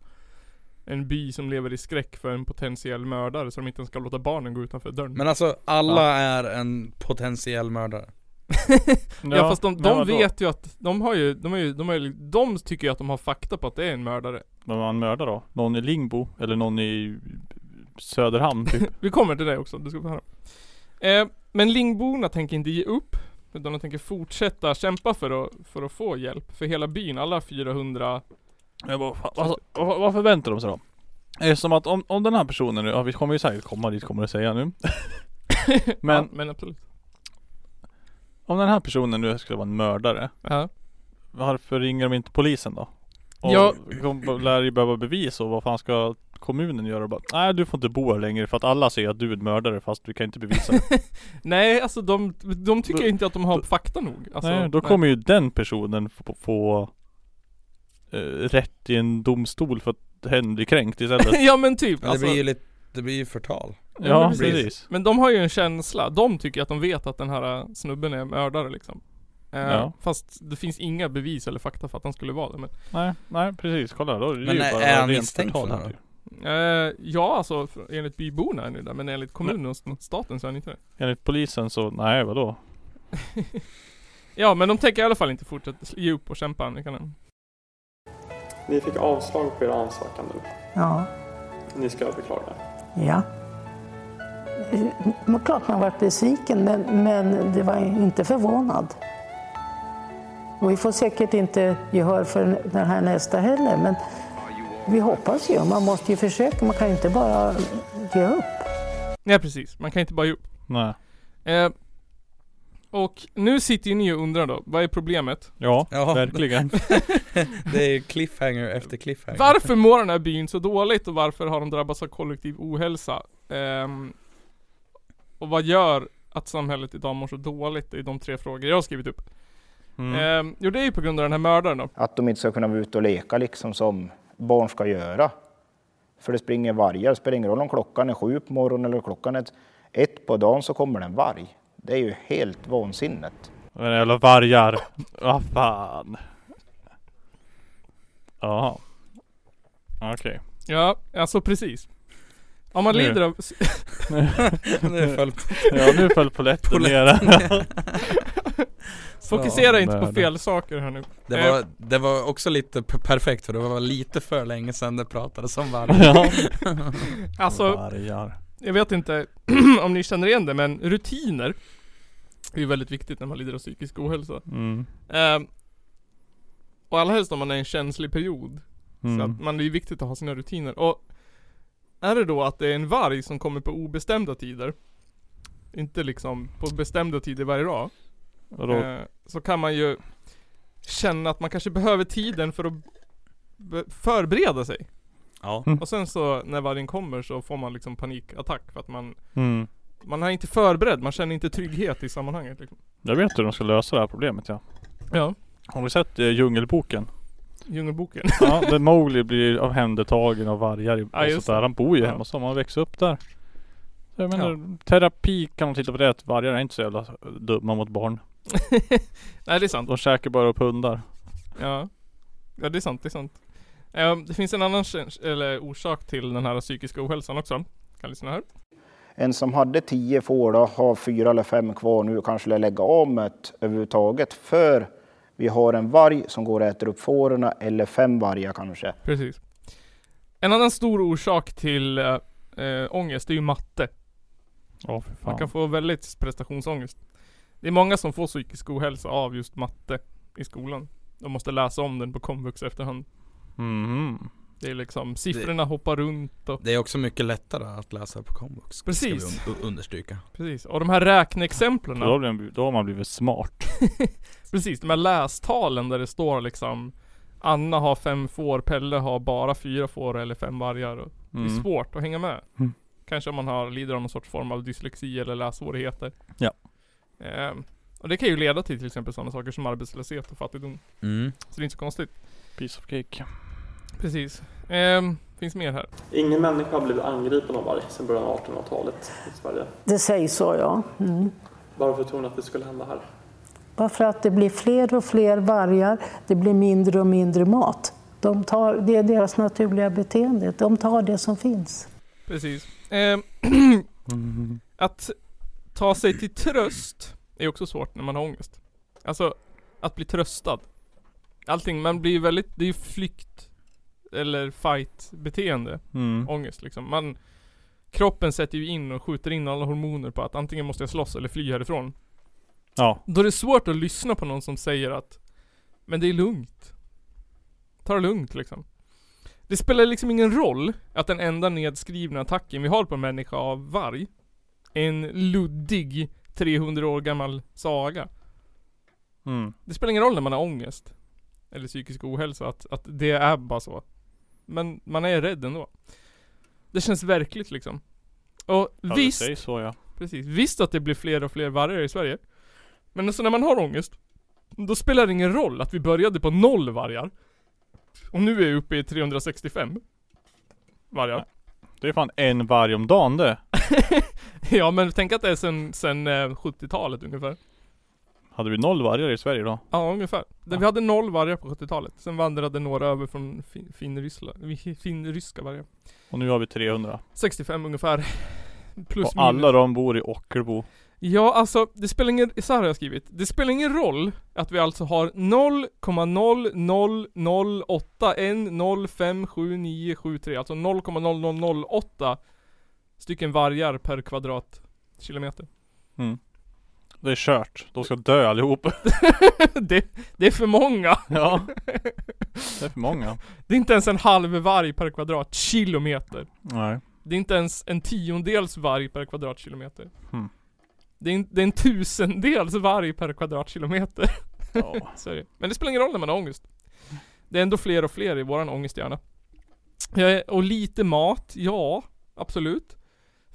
Speaker 3: en by som lever i skräck för en potentiell mördare som inte ens ska låta barnen gå utanför dörren.
Speaker 1: Men alltså alla är en potentiell mördare.
Speaker 3: ja, fast de,
Speaker 2: men
Speaker 3: de
Speaker 2: vadå?
Speaker 3: vet ju att, de har ju, de har ju, de har ju, de tycker ju att de har fakta på att det är en mördare.
Speaker 2: Men man mördar då? Någon i Lingbo? Eller någon i Söderhamn typ?
Speaker 3: *laughs* Vi kommer till det också, du ska få höra. Eh, men Lingborna tänker inte ge upp. Utan de tänker fortsätta kämpa för att, för att få hjälp. För hela byn, alla *laughs* 400
Speaker 2: Jag bara, fan, alltså, vad, vad förväntar de sig då? Är det som att om, om den här personen nu, ja, vi kommer ju säkert komma dit kommer jag säga nu.
Speaker 3: Men,
Speaker 2: Men
Speaker 3: men absolut.
Speaker 2: om den här personen nu skulle vara en mördare,
Speaker 3: Ja.
Speaker 2: varför ringer de inte polisen då? Och
Speaker 3: Ja.
Speaker 2: de lär ju behöva bevis och vad fan ska kommunen göra? Och Bara, Nej du får inte bo här längre för att alla säger att du är en mördare fast vi kan inte bevisa det.
Speaker 3: Nej, alltså de, de tycker
Speaker 2: Då-
Speaker 3: inte att de har
Speaker 2: då-
Speaker 3: fakta nog. *laughs* Alltså,
Speaker 2: nej, då kommer ju den personen få, få eh, rätt i en domstol för att hen blir kränkt istället.
Speaker 3: *laughs* *laughs* ja men typ.
Speaker 1: Men det
Speaker 3: Alltså,
Speaker 1: blir ju lite, det blir ju förtal.
Speaker 3: men
Speaker 2: ja
Speaker 3: precis.
Speaker 2: precis.
Speaker 3: Men de har ju en känsla. De tycker att de vet att den här äh, snubben är mördare liksom. Eh,
Speaker 2: Ja.
Speaker 3: Fast det finns inga bevis eller fakta för att han skulle vara det. Men,
Speaker 2: Nej, nej precis. Kolla då. är det
Speaker 1: Men
Speaker 2: ju
Speaker 1: är-
Speaker 2: bara
Speaker 1: är han
Speaker 2: rent
Speaker 1: misstänkt
Speaker 2: förtal
Speaker 1: för
Speaker 2: här
Speaker 1: det
Speaker 2: ju.
Speaker 3: eh, ja alltså för- enligt byborna är det där, men enligt kommunen och st- staten så är han inte det.
Speaker 2: Enligt polisen så, nej vadå?
Speaker 3: Ja men de tänker i alla fall inte fortsätta ge upp och kämpa. Ni kan...
Speaker 8: Ni fick avslag på er ansökan nu.
Speaker 5: Ja.
Speaker 8: Ni ska överklaga.
Speaker 5: Ja. Det är klart man varit besviken, men, men det var inte förvånad. Och vi får säkert inte gehör för den här nästa heller, men vi hoppas ju. Man måste ju försöka, man kan ju inte bara ge upp.
Speaker 3: Nej precis, man kan inte bara ge upp.
Speaker 2: Nej.
Speaker 3: Eh, och nu sitter ju ni och undrar då, vad är problemet?
Speaker 2: Ja,
Speaker 1: Ja.
Speaker 2: verkligen.
Speaker 1: Det är ju cliffhanger efter cliffhanger.
Speaker 3: Varför mår den här byn så dåligt och varför har de drabbats av kollektiv ohälsa? Ehm, och vad gör att samhället idag mår så dåligt? Det är de tre frågor jag har skrivit upp.
Speaker 2: Mm.
Speaker 3: Ehm, jo, det är ju på grund av den här mördaren då.
Speaker 4: Att de inte ska kunna vara ute och leka liksom som barn ska göra. För det springer vargar. Det spelar ingen roll om klockan är sju på morgonen eller klockan är ett på dagen så kommer det en varg. Det är ju helt vansinnet.
Speaker 2: Men jävla vargar. Vad fan. Jaha. Okej.
Speaker 3: Ja, alltså precis. Om man
Speaker 2: Nu.
Speaker 3: lider av...
Speaker 1: *laughs* Nu föll
Speaker 2: Ja nu föll polletten ner. *laughs*
Speaker 3: Fokusera
Speaker 2: Ja,
Speaker 3: inte på
Speaker 2: mördare.
Speaker 3: fel saker här nu.
Speaker 1: Det
Speaker 3: Eh.
Speaker 1: var, det var också lite p- perfekt för det var lite för länge sedan det pratades om varg
Speaker 2: *laughs* ja.
Speaker 3: Alltså,
Speaker 2: Vargar.
Speaker 3: jag vet inte *clears throat* om ni känner igen det, men rutiner är ju väldigt viktigt när man lider av psykisk ohälsa.
Speaker 2: Mm.
Speaker 3: Ehm, och allra helst om man är i en känslig period. Så
Speaker 2: Mm.
Speaker 3: att man, det är ju viktigt att ha sina rutiner. Och är det då att det är en varg som kommer på obestämda tider, inte liksom på bestämda tider varje dag,
Speaker 2: Vadå?
Speaker 3: eh, så kan man ju känna att man kanske behöver tiden för att be- förbereda sig.
Speaker 1: Ja
Speaker 2: Mm.
Speaker 3: Och sen så när vargen kommer så får man liksom panikattack för att man,
Speaker 2: Mm.
Speaker 3: man är inte förberedd, man känner inte trygghet i sammanhanget liksom.
Speaker 2: Jag vet hur de ska lösa det här problemet ja.
Speaker 3: Ja,
Speaker 2: Har du sett eh, Djungelboken?
Speaker 3: Djungelboken. *laughs*
Speaker 2: Ja, där Mowgli blir omhändertagen av vargar i-
Speaker 3: Ja,
Speaker 2: och
Speaker 3: just
Speaker 2: sånt där.
Speaker 3: det.
Speaker 2: Han bor ju
Speaker 3: Ja.
Speaker 2: hemma hos dem, han växer upp där. Så jag menar, terapi kan man titta på det att vargar är inte så jävla dumma mot barn.
Speaker 3: Nej det är sant.
Speaker 2: De käkar bara upp hundar.
Speaker 3: Ja. Ja det är sant, det är sant. Ehm, det finns en annan käns- eller orsak till den här psykiska ohälsan också. Kan lyssna här.
Speaker 4: En som hade tio får då, har fyra eller fem kvar nu och kanske lär lägga av med ett överhuvudtaget. För vi har en varg som går och äter upp fåren eller fem vargar kanske.
Speaker 3: Precis. En annan stor orsak till eh, eh, ångest, det är ju matte.
Speaker 2: Ja för
Speaker 3: Man
Speaker 2: fan.
Speaker 3: kan få väldigt prestationsångest. Det är många som får psykisk ohälsa av just matte i skolan. De måste läsa om den på komvux efterhand.
Speaker 2: Mhm.
Speaker 3: Det är liksom, siffrorna hoppar runt och
Speaker 1: Det är också mycket lättare att läsa på komvux. ska
Speaker 3: Precis.
Speaker 1: vi un- understryka.
Speaker 3: precis. Och de här räkneexemplen.
Speaker 2: Då, blir man- då har man blivit smart.
Speaker 3: Precis, de här lästalen där det står liksom Anna har fem får, Pelle har bara fyra får eller fem vargar. Och
Speaker 2: Mm.
Speaker 3: Det är svårt att hänga med.
Speaker 2: Mm.
Speaker 3: Kanske om man har, lider av någon sorts form av dyslexi eller lässvårigheter.
Speaker 2: Ja.
Speaker 3: Ehm, och det kan ju leda till till exempel sådana saker som arbetslöshet och fattigdom.
Speaker 1: Mm.
Speaker 3: Så det är inte så konstigt.
Speaker 2: Piece of cake.
Speaker 3: Precis. Ehm, finns mer här.
Speaker 8: Ingen människa har blivit angripen av varg sedan början av 1800-talet i Sverige.
Speaker 5: Det sägs så, ja. Mm.
Speaker 8: Varför tror ni att det skulle hända här?
Speaker 5: Bara för att det blir fler och fler vargar, det blir mindre och mindre mat. De tar, det är deras naturliga beteende, de tar det som finns.
Speaker 3: Precis. *clears throat*
Speaker 2: *clears throat*
Speaker 3: Ehm,
Speaker 2: Mm.
Speaker 3: att ta sig till tröst är också svårt när man har ångest. Alltså, att bli tröstad. Allting, man blir väldigt, det är ju flykt eller fight beteende,
Speaker 2: Mm.
Speaker 3: ångest liksom. Man, kroppen sätter ju in och skjuter in alla hormoner på att antingen måste jag slåss eller fly härifrån.
Speaker 2: Ja.
Speaker 3: Då är det svårt att lyssna på någon som säger att Men det är lugnt. Ta det lugnt liksom. Det spelar liksom ingen roll att den enda nedskrivna attacken vi har på en människa av varg är en luddig 300 år gammal saga.
Speaker 2: Mm.
Speaker 3: Det spelar ingen roll när man har ångest eller psykisk ohälsa att, att det är bara så. Men man är rädd ändå. Det känns verkligt liksom. Och
Speaker 2: Ja, det
Speaker 3: visst,
Speaker 2: sägs så ja.
Speaker 3: Precis. Visst att det blir fler och fler vargar i Sverige. Men alltså när man har ångest, då spelar det ingen roll att vi började på noll vargar. Och nu är vi uppe i 365 vargar.
Speaker 2: Det är fan en varg om dagen det.
Speaker 3: Ja men tänk att det är sen, sen eh, 70-talet ungefär.
Speaker 2: Hade vi noll vargar i Sverige då?
Speaker 3: Ja ungefär. Där
Speaker 2: Ja.
Speaker 3: Vi hade noll vargar på 70-talet. Sen vandrade några över från fin- finryssla- vi- finryska vargar.
Speaker 2: Och nu har vi 300.
Speaker 3: 65 ungefär. Plus
Speaker 2: och alla de bor i Ockelbo.
Speaker 3: Ja, alltså det spelar ingen, så här har jag skrivit. Det spelar ingen roll att vi alltså har 0,00081057973, alltså 0,0008 stycken vargar per kvadratkilometer. *laughs*
Speaker 2: Det är kört. De ska dö
Speaker 3: *laughs*
Speaker 2: allihop.
Speaker 3: det, det är för många!
Speaker 2: ja. Det är för många.
Speaker 3: Det är inte ens en halv varg per kvadratkilometer.
Speaker 2: Nej.
Speaker 3: Det är inte ens en tiondels varg per kvadratkilometer.
Speaker 2: Hmm.
Speaker 3: Det, är en, det är en tusendels varg per kvadratkilometer.
Speaker 2: Ja.
Speaker 3: Så är det. Men det spelar ingen roll när man har ångest. Det är ändå fler och fler i våran ångesthjärna. Eh, Och lite mat, ja. Absolut.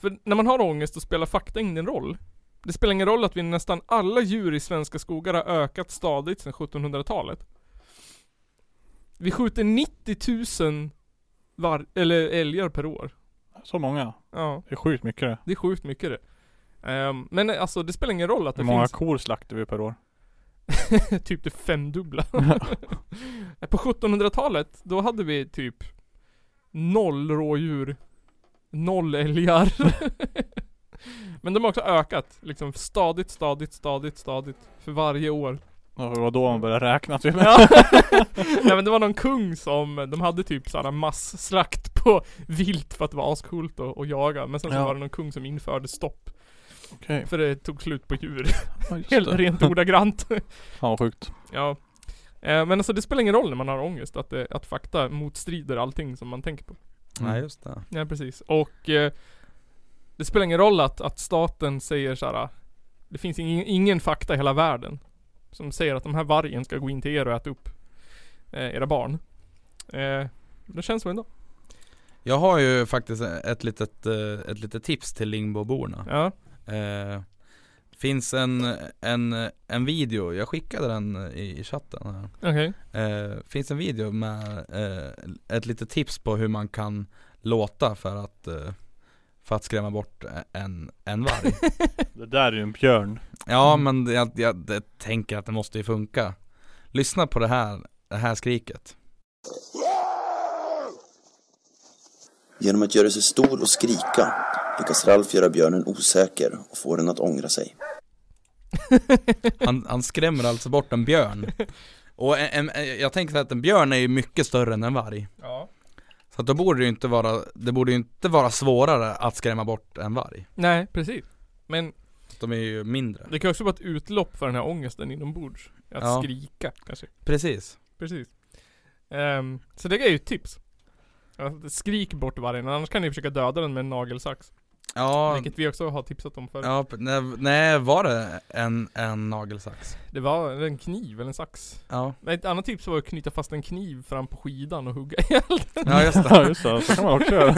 Speaker 3: För när man har ångest så spelar fakta ingen roll. Det spelar ingen roll att vi nästan alla djur i svenska skogar har ökat stadigt sedan 1700-talet. Vi skjuter 90 000 var- eller älgar per år.
Speaker 2: Så många.
Speaker 3: Ja,
Speaker 2: Det är sjukt mycket det.
Speaker 3: det är sjukt mycket det. Ehm, men eh, alltså det spelar ingen roll att det
Speaker 2: Hur många
Speaker 3: finns
Speaker 2: kor slaktar vi per år?
Speaker 3: *laughs* typ det femdubbla. *laughs* På 1700-talet, då hade vi typ noll rådjur, noll älgar. *laughs* Men de har också ökat, liksom stadigt, stadigt, stadigt, stadigt för
Speaker 2: *laughs*
Speaker 3: varje år.
Speaker 2: Ja, Det var då man började räkna typ.
Speaker 3: *laughs* Nej men det var någon kung som, de hade typ såhär masslakt på vilt för att det var ascoolt att att jaga. Men sen så
Speaker 2: Ja.
Speaker 3: var det någon kung som införde stopp.
Speaker 2: *laughs* Okej.
Speaker 3: För det tog slut på djur.
Speaker 2: Ja, just
Speaker 3: Helt
Speaker 2: det.
Speaker 3: rent ordagrant.
Speaker 2: Fan vad sjukt.
Speaker 3: Ja. Eh, Men alltså det spelar ingen roll när man har ångest att, det, att fakta motstrider allting som man tänker på.
Speaker 2: Mm.
Speaker 1: Nej just det.
Speaker 3: Ja precis. Och eh, det spelar ingen roll att, att staten säger så här. "Ah, Det finns ingen, ingen fakta i hela världen som säger att de här vargen ska gå in till er och äta upp eh, era barn. Eh, det känns så ändå.
Speaker 1: Jag har ju faktiskt ett litet, eh, ett litet tips till Lingboborna.
Speaker 3: Ja.
Speaker 1: Eh, finns en, en, en video, jag skickade den i, i chatten här.
Speaker 3: Okej.
Speaker 1: Eh, finns en video med eh, ett litet tips på hur man kan låta för att eh, För att skrämma bort en, en varg
Speaker 3: *laughs*
Speaker 2: Det där är ju en björn.
Speaker 1: Ja men jag, jag, jag tänker att det måste ju funka Lyssna på det här, det här skriket
Speaker 9: Genom att göra sig stor och skrika lyckas Ralf göra björnen osäker och få den att ångra sig.
Speaker 1: Han, han skrämmer alltså bort en björn Och en, en, jag tänker så här att en björn är ju mycket större än en varg
Speaker 3: Ja.
Speaker 1: Så att då borde det ju inte vara, det borde ju inte vara svårare att skrämma bort en varg
Speaker 3: Nej, precis. Men
Speaker 1: De är ju mindre
Speaker 3: det kan också vara ett utlopp för den här ångesten inombords. Att
Speaker 1: Ja.
Speaker 3: skrika kanske.
Speaker 1: Precis
Speaker 3: Precis. Ehm, så det är ju ett tips. Alltså, skrik bort vargen, annars kan ni försöka döda den med en nagelsax.
Speaker 1: Ja,
Speaker 3: Vilket vi också har tipsat om förut.
Speaker 1: ja p- nej, nej var det en, en nagelsax?
Speaker 3: Det var en kniv eller en sax. *laughs*
Speaker 1: Ja,
Speaker 3: Nej, Ett annat tips var att knyta fast en kniv fram på skidan och hugga ihjäl den.
Speaker 1: ja just det
Speaker 2: Ja just det, så kan man också göra.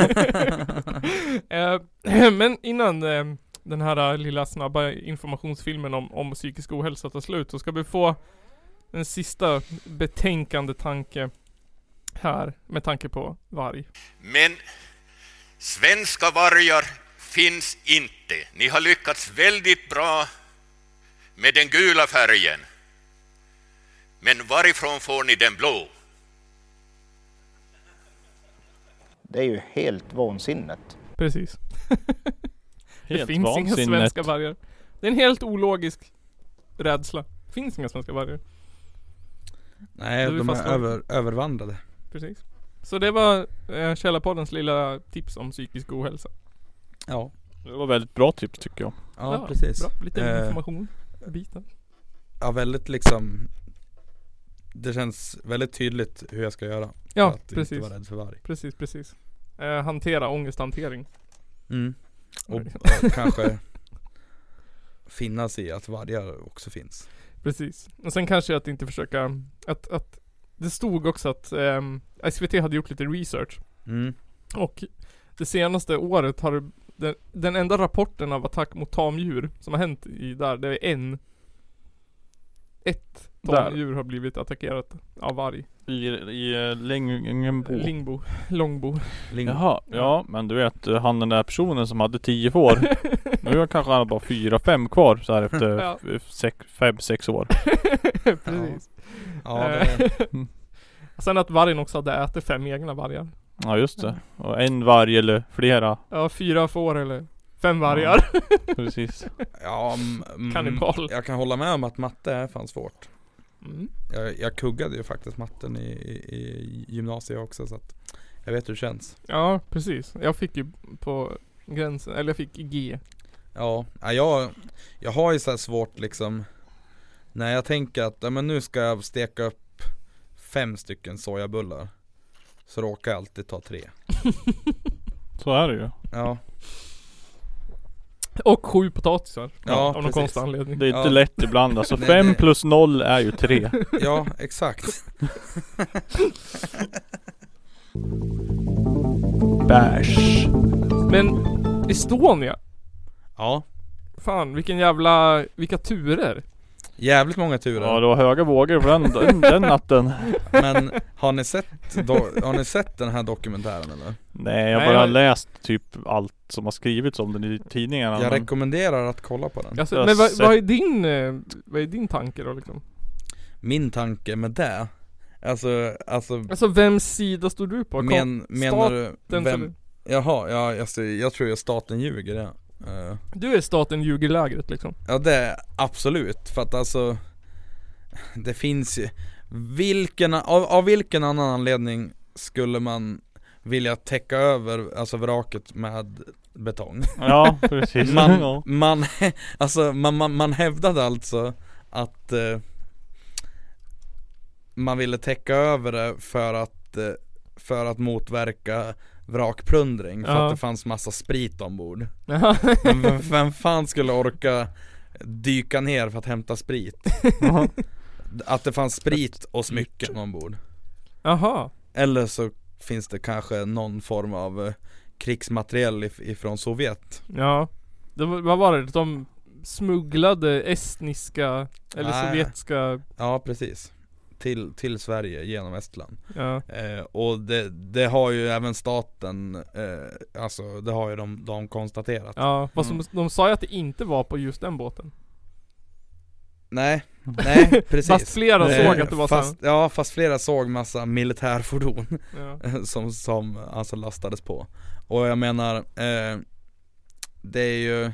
Speaker 1: *laughs*
Speaker 3: *laughs* Eh, *clears throat* Men innan eh, den här eh, lilla snabba informationsfilmen om, om psykisk ohälsa tar slut så ska vi få en sista betänkande tanke här med tanke på varg.
Speaker 10: Men svenska vargar finns inte. Ni har lyckats väldigt bra med den gula färgen. Men varifrån får ni den blå?
Speaker 4: Det är ju helt vansinnet.
Speaker 3: Precis. *laughs*
Speaker 2: Helt
Speaker 3: det finns
Speaker 2: vansinnet.
Speaker 3: inga svenska vargar. Det är en helt ologisk rädsla. Finns inga svenska vargar.
Speaker 1: Nej
Speaker 3: Då är vi
Speaker 1: de är
Speaker 3: fastnat.
Speaker 1: över, övervandrade
Speaker 3: Precis. Så det var eh, Källarpoddens lilla tips om psykisk ohälsa.
Speaker 1: Ja,
Speaker 2: Det var väldigt bra tips tycker jag.
Speaker 1: ja, precis
Speaker 3: Bra, lite
Speaker 1: Eh,
Speaker 3: information. Biten.
Speaker 1: Ja väldigt liksom Det känns väldigt tydligt hur jag ska göra för
Speaker 3: Ja,
Speaker 1: att
Speaker 3: precis.
Speaker 1: inte vara rädd för varg
Speaker 3: Precis, precis. Eh, hantera ångesthantering.
Speaker 1: mm. Och och *laughs* kanske finnas i att vargar också finns
Speaker 3: Precis. Och sen kanske att inte försöka, att, att det stod också att ehm, SVT hade gjort lite research
Speaker 1: mm.
Speaker 3: och det senaste året har det- den, den enda rapporten av attack mot tamdjur som har hänt i där, det är en. Ett
Speaker 2: Där.
Speaker 3: tamdjur har blivit attackerat av varg.
Speaker 2: I, i eh, Längenbo.
Speaker 3: Lingbo, Långbo.
Speaker 1: Ling-
Speaker 2: Jaha, ja men du vet eh, han den där personen som hade 10 *laughs*
Speaker 3: *laughs*
Speaker 2: får. Mm. Nu har kanske han bara 4-5 kvar så här
Speaker 3: Ja.
Speaker 2: *laughs* efter 5-6 år.
Speaker 3: Precis.
Speaker 1: Ja,
Speaker 3: Eh,
Speaker 1: det,
Speaker 3: *laughs* Sen att vargen också hade ätit fem egna vargar.
Speaker 2: Ja just det. Och en varg eller flera.
Speaker 3: Ja, fyra får eller
Speaker 1: *laughs*
Speaker 3: fem vargar.
Speaker 2: *laughs* Precis.
Speaker 1: ja mm, mm,
Speaker 3: Kannibal.
Speaker 1: Jag kan hålla med om att matte är fan svårt
Speaker 3: Mm.
Speaker 1: jag, jag kuggade ju faktiskt matten i, i, i gymnasiet också så att Jag vet hur det känns
Speaker 3: Ja, precis. Jag fick ju på gränsen, eller jag fick G.
Speaker 1: Ja, ja, jag, jag har ju så här svårt liksom När jag tänker att ja, men nu ska jag steka upp fem stycken sojabullar Så råkar jag alltid ta tre
Speaker 2: Så är det ju.
Speaker 1: Ja,
Speaker 3: Och sju potatisar.
Speaker 1: Ja,
Speaker 3: av någon
Speaker 1: precis.
Speaker 3: konstig anledning.
Speaker 2: Det är inte
Speaker 1: Ja.
Speaker 2: lätt ibland
Speaker 1: *laughs*
Speaker 2: alltså.
Speaker 1: Nej,
Speaker 2: 5
Speaker 1: det-
Speaker 2: plus 0 är
Speaker 1: *laughs*
Speaker 2: ju 3.
Speaker 1: ja exakt
Speaker 2: Bärs.
Speaker 3: Men Estonia.
Speaker 1: Ja,
Speaker 3: Fan, vilken jävla, vilka turer.
Speaker 1: jävligt många
Speaker 2: Ja
Speaker 1: turer
Speaker 2: det var höga vågor på den, den, den natten.
Speaker 1: Men har ni sett, do- har ni sett den här dokumentären eller?
Speaker 2: Nej jag har
Speaker 3: Nej,
Speaker 2: bara
Speaker 3: jag-
Speaker 2: läst typ allt som har skrivits om den i tidningarna.
Speaker 1: Jag
Speaker 2: men-
Speaker 1: rekommenderar att kolla på den
Speaker 3: Alltså,
Speaker 2: Jag har
Speaker 3: men vad,
Speaker 2: sett-
Speaker 3: vad är din, eh, vad är din tanke då liksom?
Speaker 1: Min tanke med det Alltså, alltså
Speaker 3: Alltså vems sida står du på? Kom-
Speaker 1: men, menar du,
Speaker 3: den
Speaker 1: vem? Jaha, ja, alltså, jag tror ju staten ljuger ja. Eh.
Speaker 3: Du är staten ljugerlägret liksom. *laughs*
Speaker 1: Ja det är absolut, för att alltså Det finns ju vilken, av, av vilken annan anledning skulle man vilja täcka över alltså vraket med betong?
Speaker 2: *laughs* Ja precis.
Speaker 1: Man,
Speaker 2: *laughs* Ja.
Speaker 1: man, *laughs* alltså, man, man, man hävdade alltså att eh, man ville täcka över det för att, eh, för att motverka vrakplundring för
Speaker 3: Ja.
Speaker 1: att det fanns massa sprit ombord
Speaker 3: Jaha.
Speaker 1: men vem, vem fan skulle orka dyka ner för att hämta sprit? Att det fanns sprit och smycken ombord
Speaker 3: Jaha.
Speaker 1: Eller så finns det kanske någon form av eh, krigsmateriel if- ifrån Sovjet
Speaker 3: Ja. Det, var- vad var det? De smugglade estniska eller
Speaker 1: Nej.
Speaker 3: sovjetiska
Speaker 1: Ja precis till, till Sverige genom Estland.
Speaker 3: Ja.
Speaker 1: Eh, och det, det har ju även staten, eh, alltså det har ju de, de konstaterat.
Speaker 3: Ja, fast
Speaker 1: Mm.
Speaker 3: de, de sa ju att det inte var på just den båten.
Speaker 1: Nej,
Speaker 3: *laughs*
Speaker 1: nej precis.
Speaker 3: Fast flera
Speaker 1: Eh,
Speaker 3: såg att det var så här.
Speaker 1: fast, Ja, fast flera såg massa militärfordon
Speaker 3: Ja.
Speaker 1: *laughs* som, som alltså lastades på. Och jag menar, eh, det är ju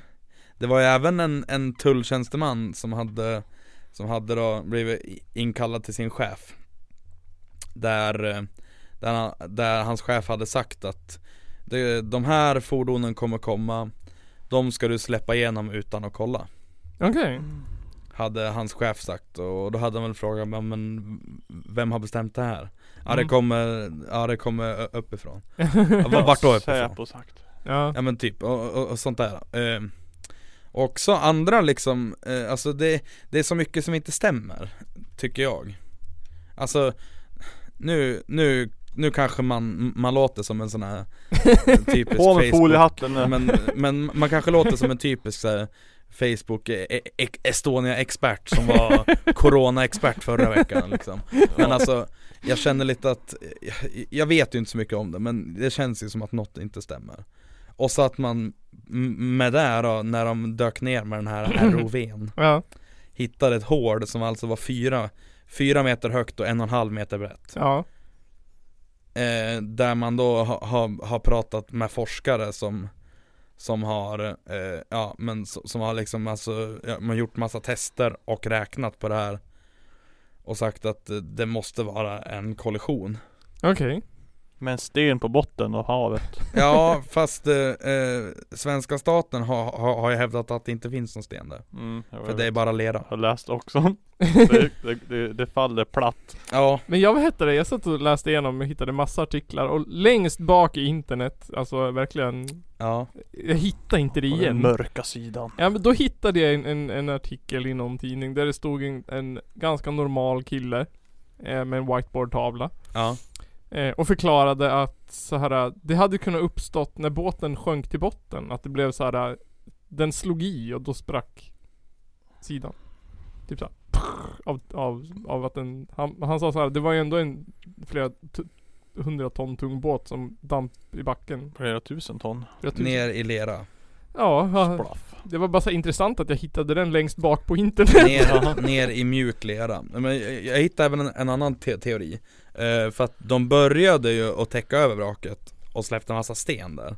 Speaker 1: Det var ju även en, en tulltjänsteman som hade Som hade då blivit i- inkallad till sin chef Där, eh, där, han- där hans chef hade sagt att det, De här fordonen kommer komma De ska du släppa igenom utan att kolla
Speaker 3: Okej.
Speaker 1: hade hans chef sagt och då hade han väl frågat men, men vem har bestämt det här? Ja det
Speaker 3: Mm.
Speaker 1: kommer, ja det kommer ö- uppifrån *laughs* ja, v- Vart då uppifrån?
Speaker 2: Säpo sagt.
Speaker 3: Ja.
Speaker 1: Ja men typ, och, och, och sånt där eh, Också andra liksom, eh, alltså det, det är så mycket som inte stämmer Tycker jag Alltså nu, nu, nu kanske man, man låter som en sån här eh, typisk
Speaker 2: På med
Speaker 1: Facebook-
Speaker 2: foliehatten nu.
Speaker 1: men, men man kanske låter som en typisk så här, Facebook eh, eh, Estonia-expert som var Corona-expert förra veckan liksom. Men alltså, jag känner lite att, jag- jag vet ju inte så mycket om det men det känns ju som att något inte stämmer Och så att man m- med det här då, när de dök ner med den här ROVn
Speaker 3: Ja.
Speaker 1: Hittade ett hål som alltså var fyra, fyra meter högt och en och en halv meter brett
Speaker 3: Ja.
Speaker 1: eh, Där man då har ha, har pratat med forskare som Som har, eh, ja men s- som har liksom alltså, ja, man har gjort massa tester och räknat på det här Och sagt att eh, det måste vara en kollision
Speaker 3: Okej.
Speaker 2: Med en sten på botten av havet.
Speaker 1: Ja fast eh, eh, svenska staten har, har, har ju hävdat att det inte finns någon sten där
Speaker 2: Mm, jag
Speaker 1: För
Speaker 2: vet.
Speaker 1: det är bara lera
Speaker 2: Jag har läst *laughs* också. Det, det, det, det faller platt.
Speaker 1: Ja,
Speaker 3: *laughs* Men jag, vad hette det? Jag satt och läste igenom och hittade massa artiklar och längst bak i internet, alltså verkligen
Speaker 1: ja,
Speaker 3: Jag hittade inte det
Speaker 2: På den
Speaker 3: igen.
Speaker 2: mörka sidan.
Speaker 3: Ja men då hittade jag en, en, en artikel i någon tidning där det stod en, en ganska normal kille eh, med en whiteboardtavla
Speaker 1: ja,
Speaker 3: eh, och förklarade att så här, det hade kunnat uppstått när båten sjönk till botten att det blev så här den slog i och då sprack sidan. Typ så här, av, av, av att den, han, han sa så här, det var ju ändå en flera t- hundra ton tung båt som damp i backen.
Speaker 2: Flera tusen ton.
Speaker 3: Flera tusen-
Speaker 1: ner i lera
Speaker 3: Ja, ja,
Speaker 2: Splaff.
Speaker 3: det var bara så här intressant att jag hittade den längst bak på internet.
Speaker 1: Ner, ner i mjuk lera Men jag, jag hittade även en, en annan te- teori eh, För att de började ju att täcka över vraket och släppte en massa sten där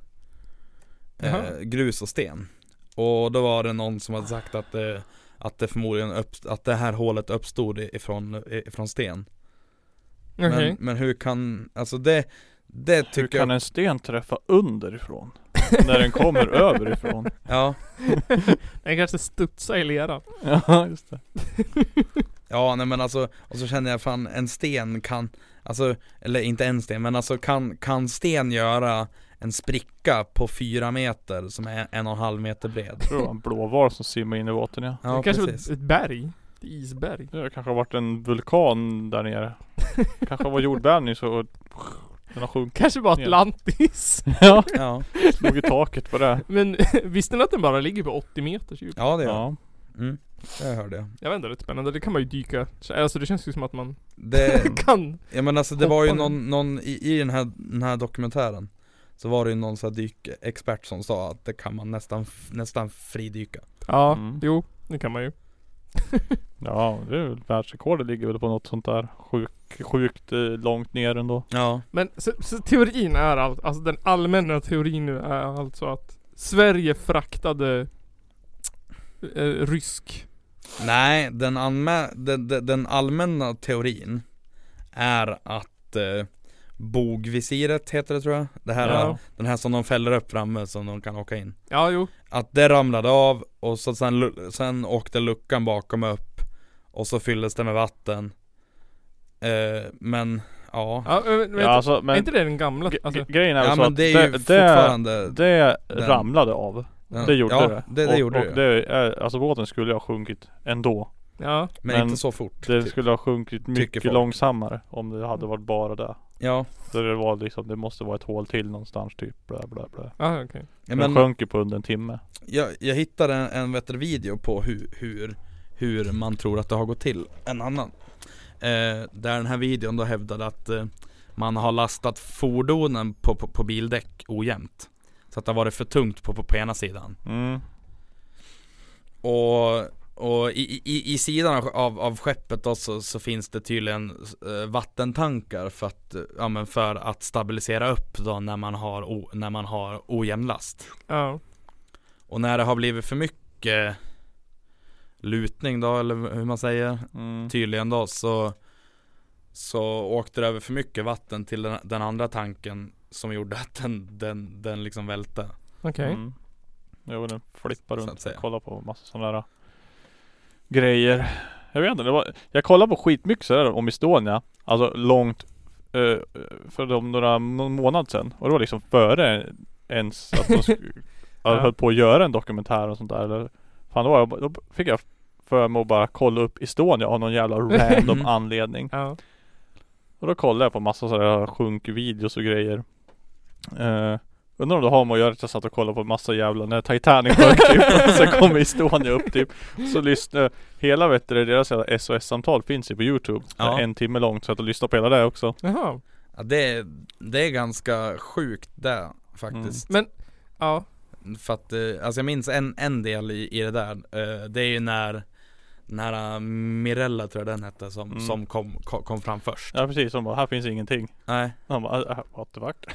Speaker 3: Jaha.
Speaker 1: eh, Grus och sten Och då var det någon som hade sagt att det, att det förmodligen upp, att det här hålet uppstod ifrån, ifrån sten
Speaker 3: *laughs* Okej.
Speaker 1: men, men hur kan, alltså det, det
Speaker 2: Hur
Speaker 1: tycker
Speaker 2: kan
Speaker 1: jag,
Speaker 2: en sten träffa underifrån?
Speaker 3: *laughs*
Speaker 2: När den kommer överifrån.
Speaker 1: ja
Speaker 3: Den kanske studsar i leran.
Speaker 2: *laughs* Ja, just det.
Speaker 1: Ja nej men alltså, och så känner jag fan en sten kan, alltså, eller inte en sten men alltså kan, kan sten göra en spricka på fyra meter som är en och en halv meter
Speaker 2: *laughs*
Speaker 1: bred?
Speaker 2: Jag tror det var en blåval som simmade in i båten ja.
Speaker 1: Ja
Speaker 3: det kanske var
Speaker 1: precis
Speaker 3: ett, ett berg. Ett isberg.
Speaker 2: Det kanske har varit en vulkan där nere.
Speaker 3: *laughs*
Speaker 2: Kanske var jordbävning så den har sjunkit.
Speaker 3: Kanske bara
Speaker 2: Ja. *laughs*
Speaker 3: Atlantis.
Speaker 2: Ja,
Speaker 1: Ja,
Speaker 2: slog i taket på det.
Speaker 3: Men *laughs* visste ni att den bara ligger på 80 meters djup?
Speaker 1: ja det gör jag,
Speaker 2: Ja.
Speaker 1: mm, det hörde jag
Speaker 3: typ? Jag vet inte, det är rätt spännande. Det kan man ju dyka. Så- Alltså det känns ju som att man
Speaker 2: Mm.
Speaker 1: Det,
Speaker 3: *laughs* kan.
Speaker 1: ja men alltså det var ju
Speaker 3: Hoppa nu.
Speaker 1: någon, någon i, i den här, den här dokumentären Så var det ju någon sån här dykexpert som sa att det kan man nästan, nästan fridyka
Speaker 3: Ja,
Speaker 2: Mm.
Speaker 3: jo. Det kan man ju.
Speaker 2: Ja, det är väl världsrekordet ligger väl på något sånt där sjuk, sjukt eh, långt ner ändå.
Speaker 1: Ja,
Speaker 3: Men så, så teorin är allt, alltså den allmänna teorin nu är alltså att Sverige fraktade eh, rysk.
Speaker 1: Nej, den, anmä- den, den, den allmänna teorin är att eh, bogvisiret heter det tror jag. Det här,
Speaker 3: Ja.
Speaker 1: Den här som de fäller upp framme som de kan åka in.
Speaker 3: Ja, jo.
Speaker 1: Att det ramlade av och så sen, lu- sen åkte luckan bakom upp och så fylldes det med vatten. Eh, men ja.
Speaker 3: Ja, eh, men, men,
Speaker 2: Ja, alltså,
Speaker 3: är
Speaker 2: men
Speaker 3: inte det den gamla?
Speaker 2: gre-
Speaker 3: Alltså,
Speaker 2: grejen är väl
Speaker 1: Ja
Speaker 2: så
Speaker 1: men
Speaker 2: att
Speaker 1: det är ju
Speaker 2: det,
Speaker 1: fortfarande
Speaker 2: det
Speaker 1: den-
Speaker 2: ramlade av.
Speaker 1: den-
Speaker 2: Det gjorde
Speaker 1: ja,
Speaker 2: det.
Speaker 1: det, det
Speaker 2: och,
Speaker 1: gjorde
Speaker 2: och
Speaker 1: det.
Speaker 2: det. är, alltså båten skulle ha sjunkit ändå.
Speaker 3: ja.
Speaker 1: men,
Speaker 2: men
Speaker 1: inte så fort.
Speaker 2: Det
Speaker 1: typ.
Speaker 2: skulle ha sjunkit mycket
Speaker 1: folk.
Speaker 2: långsammare om det hade varit bara det.
Speaker 1: Ja,
Speaker 2: Så det var liksom, det måste vara ett hål till någonstans typ. Bla, bla, bla.
Speaker 3: Ja, Ah, okej.
Speaker 1: ja
Speaker 2: Den
Speaker 1: men
Speaker 2: sjönk ju på under en timme.
Speaker 1: jag, jag hittade en, en vet, du, video på hur, hur, hur man tror att det har gått till En annan eh, Där den här videon då hävdade att eh, man har lastat fordonen på, på, på bildäck ojämnt Så att det har varit för tungt på, på, på ena sidan
Speaker 2: Mm.
Speaker 1: Och, och i, i, i sidan av- av, av skeppet då så, så finns det tydligen eh, vattentankar för att, eh, ja, men för att stabilisera upp då när man har, o, när man har ojämn last.
Speaker 3: Ja.
Speaker 1: Och när det har blivit för mycket lutning då, eller hur man säger,
Speaker 2: Mm.
Speaker 1: tydligen då, så, så åkte det över för mycket vatten till den, den andra tanken som gjorde att den, den, den liksom välte.
Speaker 3: Okej.
Speaker 2: Mm. Jo den flippar
Speaker 1: Så att
Speaker 2: runt
Speaker 1: säga.
Speaker 2: och kollar på massa sådana där äh, grejer. Jag vet inte, det var, jag kollade på skitmycket sådär om Estonia. Alltså långt eh, för de några må- månad sedan. Och det var liksom före ens att de
Speaker 1: *laughs*
Speaker 2: sk-
Speaker 3: Ja.
Speaker 2: höll på att göra en dokumentär och sånt där. Eller, fan då, var jag, bara- då fick jag för mig att bara kolla upp Estonia av någon
Speaker 3: *laughs*
Speaker 2: jävla random
Speaker 1: Mm.
Speaker 2: anledning.
Speaker 3: Ja.
Speaker 2: Och då kollade jag på massa sådana sjunkvideos och grejer eh, Undrar om det har med att göra att jag satt och kollade på massa jävla när Titanic sjönk *laughs* typ och sen kom Estonia upp typ Så lyssnade Hela vet du, det, deras jävla SOS-samtal finns ju på Youtube
Speaker 1: Ja.
Speaker 2: Det är En timme långt så att lyssna på hela det också
Speaker 3: Jaha.
Speaker 1: Ja, det, det är ganska sjukt det faktiskt.
Speaker 3: Men, ja.
Speaker 1: För att, eh, alltså jag minns en, en del i, i det där, eh, det är ju när när eh, Mirella tror jag den hette som,
Speaker 2: Mm.
Speaker 1: som kom, ko- kom fram först
Speaker 2: Ja precis, de bara här finns ingenting
Speaker 1: Nej,
Speaker 2: Han bara "Ah, ah, what
Speaker 1: *laughs*
Speaker 2: the fuck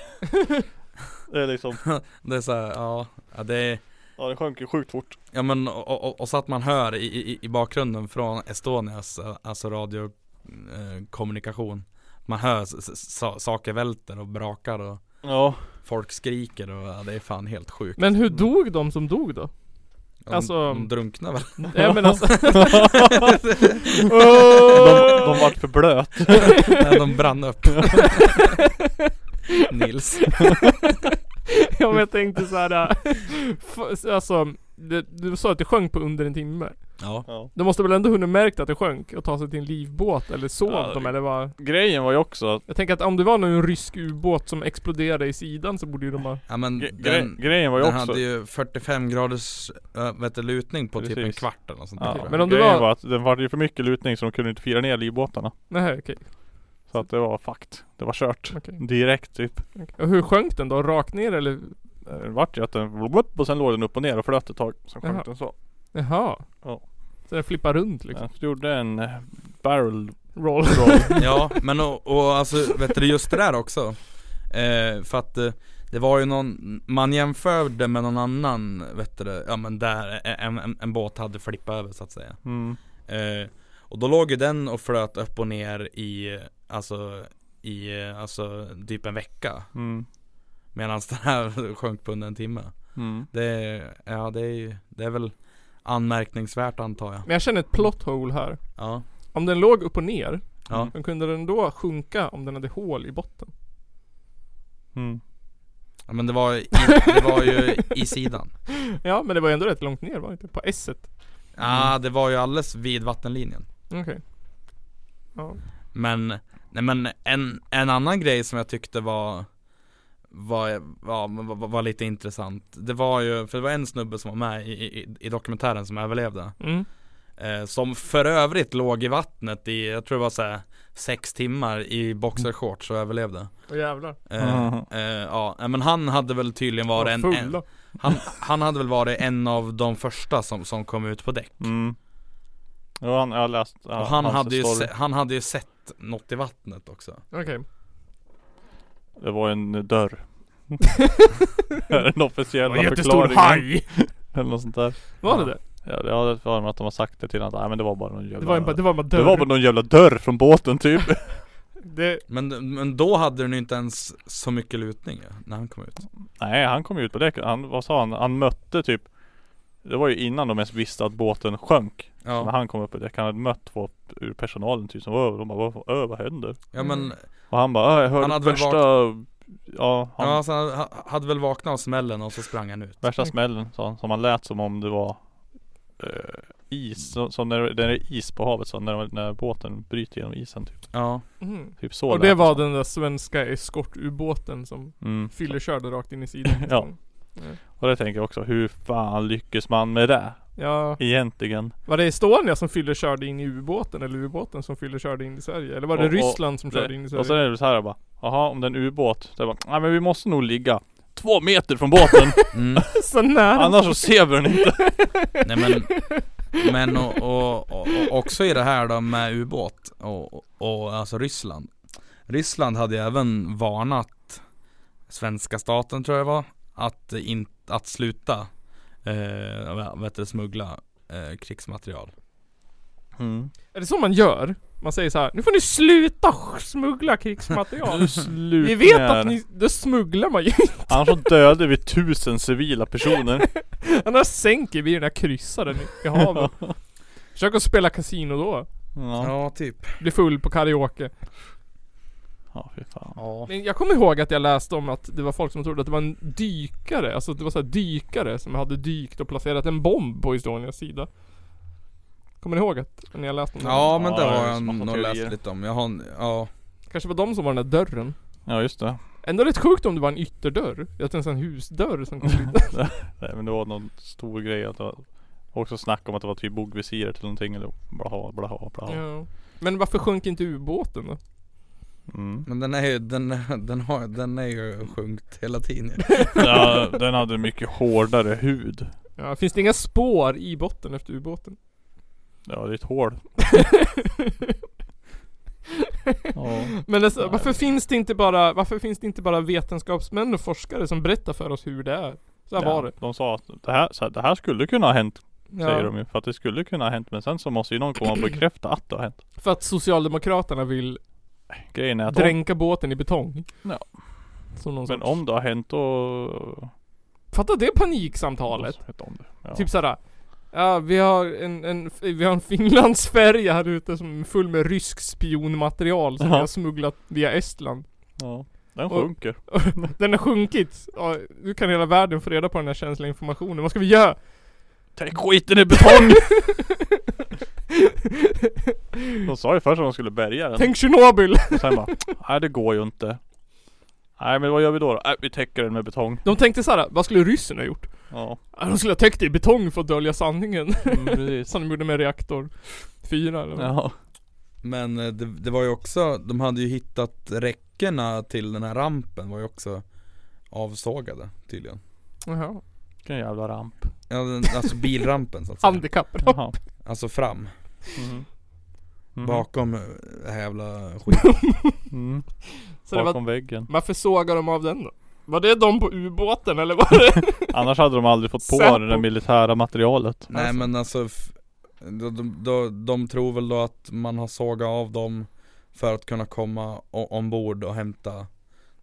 Speaker 2: Det är liksom
Speaker 1: det är såhär, ja, ja det är,
Speaker 2: Ja det sjönk ju sjukt fort
Speaker 1: ja men och, och- och, och så att man hör i, i, i bakgrunden från Estonias, eh, alltså radiokommunikation Man hör s- s- sa- saker välter och brakar och
Speaker 2: Ja
Speaker 1: folk skriker och ja, det är fan helt sjukt
Speaker 3: Men
Speaker 2: Mm.
Speaker 3: hur dog de som dog då?
Speaker 1: De-
Speaker 3: alltså-
Speaker 1: de drunknar väl? *laughs*
Speaker 3: Nej men alltså, *laughs*
Speaker 2: De, de vart för blöt
Speaker 1: Nej de brann
Speaker 2: *laughs*
Speaker 1: upp Nils
Speaker 3: ja, men jag tänkte såhär, äh, alltså, det, du sa att det sjönk på under en timme.
Speaker 1: Ja
Speaker 2: ja.
Speaker 3: De måste väl ändå hunnit märkt att det sjönk och ta sig till en livbåt eller sov
Speaker 2: Ja,
Speaker 3: de
Speaker 2: det-
Speaker 3: eller vad?
Speaker 2: Grejen var ju också att
Speaker 3: Jag tänker att om det var någon rysk ubåt som exploderade i sidan så borde ju de ha...
Speaker 1: Ja men
Speaker 2: gre-
Speaker 1: den,
Speaker 2: gre- grejen var ju
Speaker 1: den
Speaker 2: också
Speaker 1: hade ju 45 graders äh, vet du, lutning på typ en
Speaker 2: Precis.
Speaker 1: kvart eller något sånt där
Speaker 2: Ja,
Speaker 1: tror jag.
Speaker 3: men
Speaker 2: men
Speaker 3: om
Speaker 2: om
Speaker 3: det
Speaker 2: grejen
Speaker 3: var-
Speaker 2: var... att den var ju för mycket lutning så de kunde inte fira ner livbåtarna.
Speaker 3: Nej, okej.
Speaker 2: Så att det var fakt. Det var kört.
Speaker 3: Okej.
Speaker 2: Direkt typ.
Speaker 3: Och hur sjönk den då? Rakt ner eller?
Speaker 2: Det vart ju att den upp och sen låg den upp och ner och flöt ett tag. Sen
Speaker 3: Jaha.
Speaker 2: sjönk den så.
Speaker 3: Jaha.
Speaker 2: Ja.
Speaker 3: Så den flippar runt liksom?
Speaker 2: Den gjorde en eh, barrel
Speaker 3: Roll. *laughs*
Speaker 2: roll.
Speaker 1: Ja men och, och alltså vet du just det där också eh, För att eh, det var ju någon, man jämförde med någon annan vet du, det, ja men där en, en, en båt hade flippat över så att säga
Speaker 2: mm.
Speaker 1: eh, Och då låg ju den och flöt upp och ner i, alltså i, eh, alltså typ en vecka
Speaker 2: Mm.
Speaker 1: Medan den här *laughs* sjönk på under en timme
Speaker 2: Mm.
Speaker 1: Det är, ja det är ju, det är väl anmärkningsvärt antar jag
Speaker 3: Men jag känner ett plot hole här.
Speaker 1: Ja,
Speaker 3: Om den låg upp och ner,
Speaker 1: ja
Speaker 3: men kunde den då sjunka om den hade hål i botten?
Speaker 2: Mm.
Speaker 1: Ja, men det var, i, det var ju i sidan.
Speaker 3: Ja, men det var ju ändå rätt långt ner var det inte? På S-et.
Speaker 1: Ja, det var ju alldeles vid vattenlinjen.
Speaker 3: Okej.
Speaker 1: Men, nej men en, en annan grej som jag tyckte var var, var, var, var lite intressant. Det var ju, för det var en snubbe som var med i, i, i dokumentären som överlevde.
Speaker 3: Mm.
Speaker 1: Eh, som för övrigt låg i vattnet i, jag tror det var såhär, sex timmar i boxershorts och överlevde.
Speaker 3: Åh jävlar.
Speaker 1: Eh,
Speaker 2: Mhm.
Speaker 1: eh, ja, nej, men han hade väl tydligen varit en, en,
Speaker 3: Fulla.
Speaker 1: han, han hade väl varit en av de första som, som kom ut på däck.
Speaker 2: Mm. Jo, han, jag har läst
Speaker 1: Och han, hade ju se, han hade ju sett något i vattnet också
Speaker 3: Okej.
Speaker 2: Det var en eh,
Speaker 3: *laughs*
Speaker 2: dörr. Det är den officiella
Speaker 3: en jättestor
Speaker 2: förklaringen.
Speaker 3: haj!
Speaker 2: Eller något sånt där.
Speaker 3: Var det det?
Speaker 2: Ja, jag hade för mig att de har sagt det till honom. Nej men det var bara någon jävla
Speaker 3: Det var en, ba- det var en bara dörr.
Speaker 2: Det var bara någon jävla dörr från båten typ
Speaker 3: det,
Speaker 1: Men, men då hade den ju inte ens så mycket lutning ja, när han kom ut
Speaker 2: Nej han kom ju ut på däck, han, vad sa han? Han mötte typ Det var ju innan de ens visste att båten sjönk Så När
Speaker 1: Ja,
Speaker 2: han kom upp på däck, han hade mött två ur personalen typ som "Åh", De bara "Vad- öh vad händer?
Speaker 1: ja men
Speaker 2: Och han bara "Åh, jag hörde
Speaker 1: Han hade väl
Speaker 2: värsta Ja, han,
Speaker 1: ja, så han ha- hade väl vaknat av smällen och så sprang han ut
Speaker 2: värsta smällen sa han Som han lät som om det var eh, Is, som, som när, det- när det är is på havet så när, när båten bryter genom isen typ,
Speaker 1: Ja,
Speaker 3: Mm.
Speaker 2: typ så
Speaker 3: Och
Speaker 2: lät
Speaker 3: det var
Speaker 2: som.
Speaker 3: den där svenska eskortubåten som
Speaker 2: mm.
Speaker 3: fyllerkörde rakt in i sidan. liksom.
Speaker 2: Ja. Och det tänker jag också, hur fan lyckas man med det?
Speaker 3: Ja.
Speaker 2: Egentligen.
Speaker 3: Var det Estonia som Fyller körde in i ubåten eller ubåten som Fyller körde in i Sverige? Eller var det
Speaker 2: Och- och
Speaker 3: Ryssland som
Speaker 2: det-
Speaker 3: körde in i Sverige?
Speaker 2: Och sen är det så här bara. Jaha, om det är en ubåt. Det är bara, nej men vi måste nog ligga två meter från
Speaker 3: *laughs*
Speaker 2: båten.
Speaker 3: så nära.
Speaker 2: Annars så ser vi den inte.
Speaker 1: Mm. Nej men, men och, och, och, och också i det här då med ubåt och, och, och alltså Ryssland. Ryssland hade ju även varnat svenska staten tror jag det var att, in, att sluta eh, vad heter det, smuggla eh, krigsmaterial.
Speaker 2: Mm.
Speaker 3: Är det så man gör? Man säger så här, nu får ni sluta
Speaker 2: *laughs*
Speaker 3: smuggla krigsmaterial.
Speaker 2: Slut
Speaker 3: Vi vet
Speaker 2: med-
Speaker 3: att ni, då smugglar man ju.
Speaker 2: *laughs*
Speaker 3: *laughs*
Speaker 2: Annars så dödar vi tusen civila personer.
Speaker 3: Annars sänker vi den här kryssaren
Speaker 2: *laughs*
Speaker 3: i havet. Försök att spela kasino då.
Speaker 2: Ja.
Speaker 1: typ.
Speaker 3: Bli full på karaoke.
Speaker 2: Ja, fy fan.
Speaker 3: Men jag kommer ihåg att jag läste om att det var folk som trodde att det var en dykare, alltså det var så här dykare som hade dykt och placerat en bomb på Estonias sida. Kommer ni ihåg att, när jag läste om det?
Speaker 1: Ja men det
Speaker 2: Ja,
Speaker 1: har
Speaker 2: det är
Speaker 1: jag
Speaker 2: smarta
Speaker 1: nog
Speaker 2: teorier.
Speaker 1: läst lite om. Jag har, en- ja.
Speaker 3: Kanske var de som var den där dörren.
Speaker 2: Ja just det.
Speaker 3: Ändå rätt sjukt om det var en ytterdörr. Jag tänkte en husdörr som kom dit.
Speaker 2: Nej men det var någon stor grej att det var också snack om att det var typ bogvisiret eller någonting eller blaha blaha blaha.
Speaker 3: ja. Men varför sjönk inte ubåten då?
Speaker 2: Mm.
Speaker 1: Men den är ju, den, *laughs* den har, den är ju sjunkit hela tiden
Speaker 2: ja den hade mycket hårdare hud.
Speaker 3: Ja, finns det inga spår i botten efter ubåten? *laughs*
Speaker 2: Ja det är ett hål. Ja.
Speaker 3: Men alltså, varför finns det inte bara, varför finns det inte bara vetenskapsmän och forskare som berättar för oss hur det är? Så här var det.
Speaker 2: De sa att det här, så här, det här skulle kunna ha hänt.
Speaker 3: Ja.
Speaker 2: Säger de ju. För att det skulle kunna ha hänt. Men sen så måste ju någon komma och bekräfta att det har hänt.
Speaker 3: För att Socialdemokraterna vill
Speaker 2: Grejen är att om,
Speaker 3: dränka båten i betong.
Speaker 2: Ja.
Speaker 3: Som någon
Speaker 2: men
Speaker 3: sorts.
Speaker 2: om det har hänt då..
Speaker 3: Fatta det paniksamtalet.
Speaker 2: Måste veta om det. Ja.
Speaker 3: Typ såhär Ja vi har en, en, vi har en *laughs* finlandsfärja här ute som är full med rysk spionmaterial som
Speaker 2: Ja.
Speaker 3: vi har smugglat via Estland.
Speaker 2: Ja. Den
Speaker 3: Och-
Speaker 2: sjunker.
Speaker 3: Den har sjunkit. Ja, nu kan hela världen få reda på den här känsliga informationen. Vad ska vi göra?
Speaker 2: Tänk skiten i betong! *laughs* de sa ju först att de skulle bärga den.
Speaker 3: Tänk Tjernobyl!
Speaker 2: Och sen bara, nej det går ju inte. Nej men vad gör vi då? då? Nej, vi täcker den med betong.
Speaker 3: De tänkte såhär, vad skulle ryssen ha gjort?
Speaker 2: Ja,
Speaker 3: Ja, De skulle ha täckt det i betong för att dölja sanningen. *laughs*
Speaker 2: mm, precis.
Speaker 3: Som de gjorde med reaktor 4 eller vad?
Speaker 2: *laughs* Ja.
Speaker 1: Men eh, det, det var ju också, de hade ju hittat räckena till den här rampen var ju också avsågade tydligen
Speaker 3: Jaha.
Speaker 2: Vilken jävla ramp.
Speaker 1: ja, den, Alltså bilrampen
Speaker 3: *laughs*
Speaker 1: så att säga
Speaker 3: Handikapp.
Speaker 2: Jaha.
Speaker 1: Alltså fram,
Speaker 2: Mm. Mm.
Speaker 1: bakom eh, det här jävla skiten
Speaker 2: Mm.
Speaker 3: Så det
Speaker 2: Bakom
Speaker 3: var,
Speaker 2: väggen.
Speaker 3: varför sågar de av den då? Var det de på ubåten eller var det?
Speaker 2: Annars hade de aldrig fått på
Speaker 3: Säpo.
Speaker 2: det där militära materialet.
Speaker 1: Nej men alltså f- de, de, de, de tror väl då att man har sågat av dem För att kunna komma o- ombord och hämta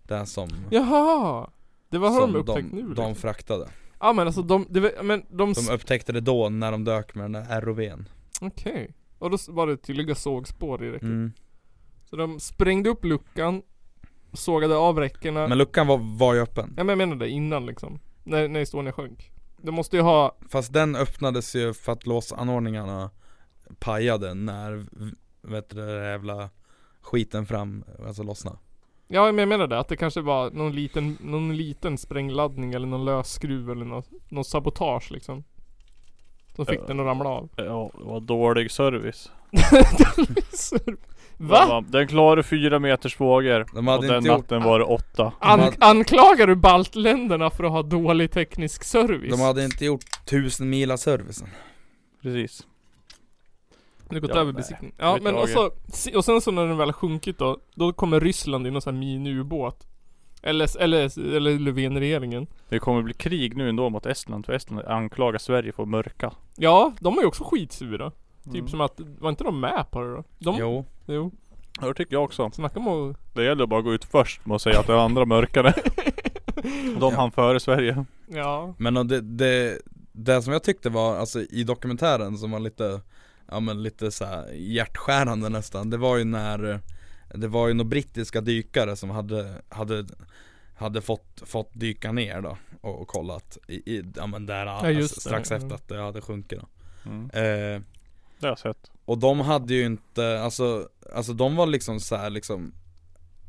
Speaker 1: det som,
Speaker 3: Jaha! Det var har
Speaker 1: som
Speaker 3: de upptäckt nu liksom.
Speaker 1: de fraktade
Speaker 3: Ja men alltså de, det, var- men de,
Speaker 1: De
Speaker 3: de
Speaker 1: upptäckte det då när de dök med den där ROVn
Speaker 3: okej. Och då s- var det tydliga sågspår i räcket.
Speaker 1: mm.
Speaker 3: Så de sprängde upp luckan, sågade av räckena.
Speaker 1: Men luckan var, var ju öppen
Speaker 3: Ja men jag menar det innan liksom. När, när Estonia sjönk. De måste ju ha,
Speaker 1: Fast den öppnades ju för att låsanordningarna pajade när, vet du, det där jävla skiten fram, alltså lossna.
Speaker 3: ja men jag menar det att det kanske var någon liten, någon liten sprängladdning eller någon lös skruv eller något, något sabotage liksom. Som fick
Speaker 2: Ja.
Speaker 3: den att
Speaker 2: *laughs*
Speaker 3: ramla av.
Speaker 2: Ja, det var dålig service. Det
Speaker 3: Va?
Speaker 2: var- Den klarade fyra meters vågor.
Speaker 1: De hade
Speaker 2: och den
Speaker 1: inte gjort-
Speaker 2: natten var det åtta.
Speaker 3: An-
Speaker 1: Vad-
Speaker 3: anklagar du baltländerna för att ha dålig teknisk service?
Speaker 1: De hade inte gjort tusen mila servicen.
Speaker 2: Precis.
Speaker 3: Det gått
Speaker 2: Ja,
Speaker 3: över
Speaker 2: nej.
Speaker 3: besiktning.
Speaker 2: Det
Speaker 3: Ja
Speaker 2: vet
Speaker 3: men
Speaker 2: jag
Speaker 3: och, så, se- och sen så när den väl sjunkit då, då kommer Ryssland in och så här miniubåt. Eller, eller, eller Löfvenregeringen.
Speaker 2: Det kommer bli krig nu ändå mot Estland. För Estland anklagar Sverige för att mörka.
Speaker 3: Ja, de är ju också skitsura. Typ
Speaker 2: Mm.
Speaker 3: som att, var inte de med på det då? De, jo.
Speaker 1: Jo,
Speaker 3: jo.
Speaker 2: Ja, Det tycker jag också.
Speaker 3: Snacka om att...
Speaker 2: Det gäller bara att gå ut först med att säga att det är andra *laughs* mörkare. De hann före Sverige.
Speaker 3: Ja.
Speaker 1: men och det, det, det som jag tyckte var, alltså i dokumentären som var lite, ja men lite så här hjärtskärande nästan, det var ju när eh, det var ju några brittiska dykare som hade, hade, hade fått, fått dyka ner då och, och kollat i, i, ja men där, alltså,
Speaker 3: just det.
Speaker 1: strax efter
Speaker 3: Mm.
Speaker 1: att det hade sjunkit då.
Speaker 2: Mm.
Speaker 1: Eh,
Speaker 2: Det har jag sett.
Speaker 1: Och de hade ju inte, alltså, alltså de var liksom så här, liksom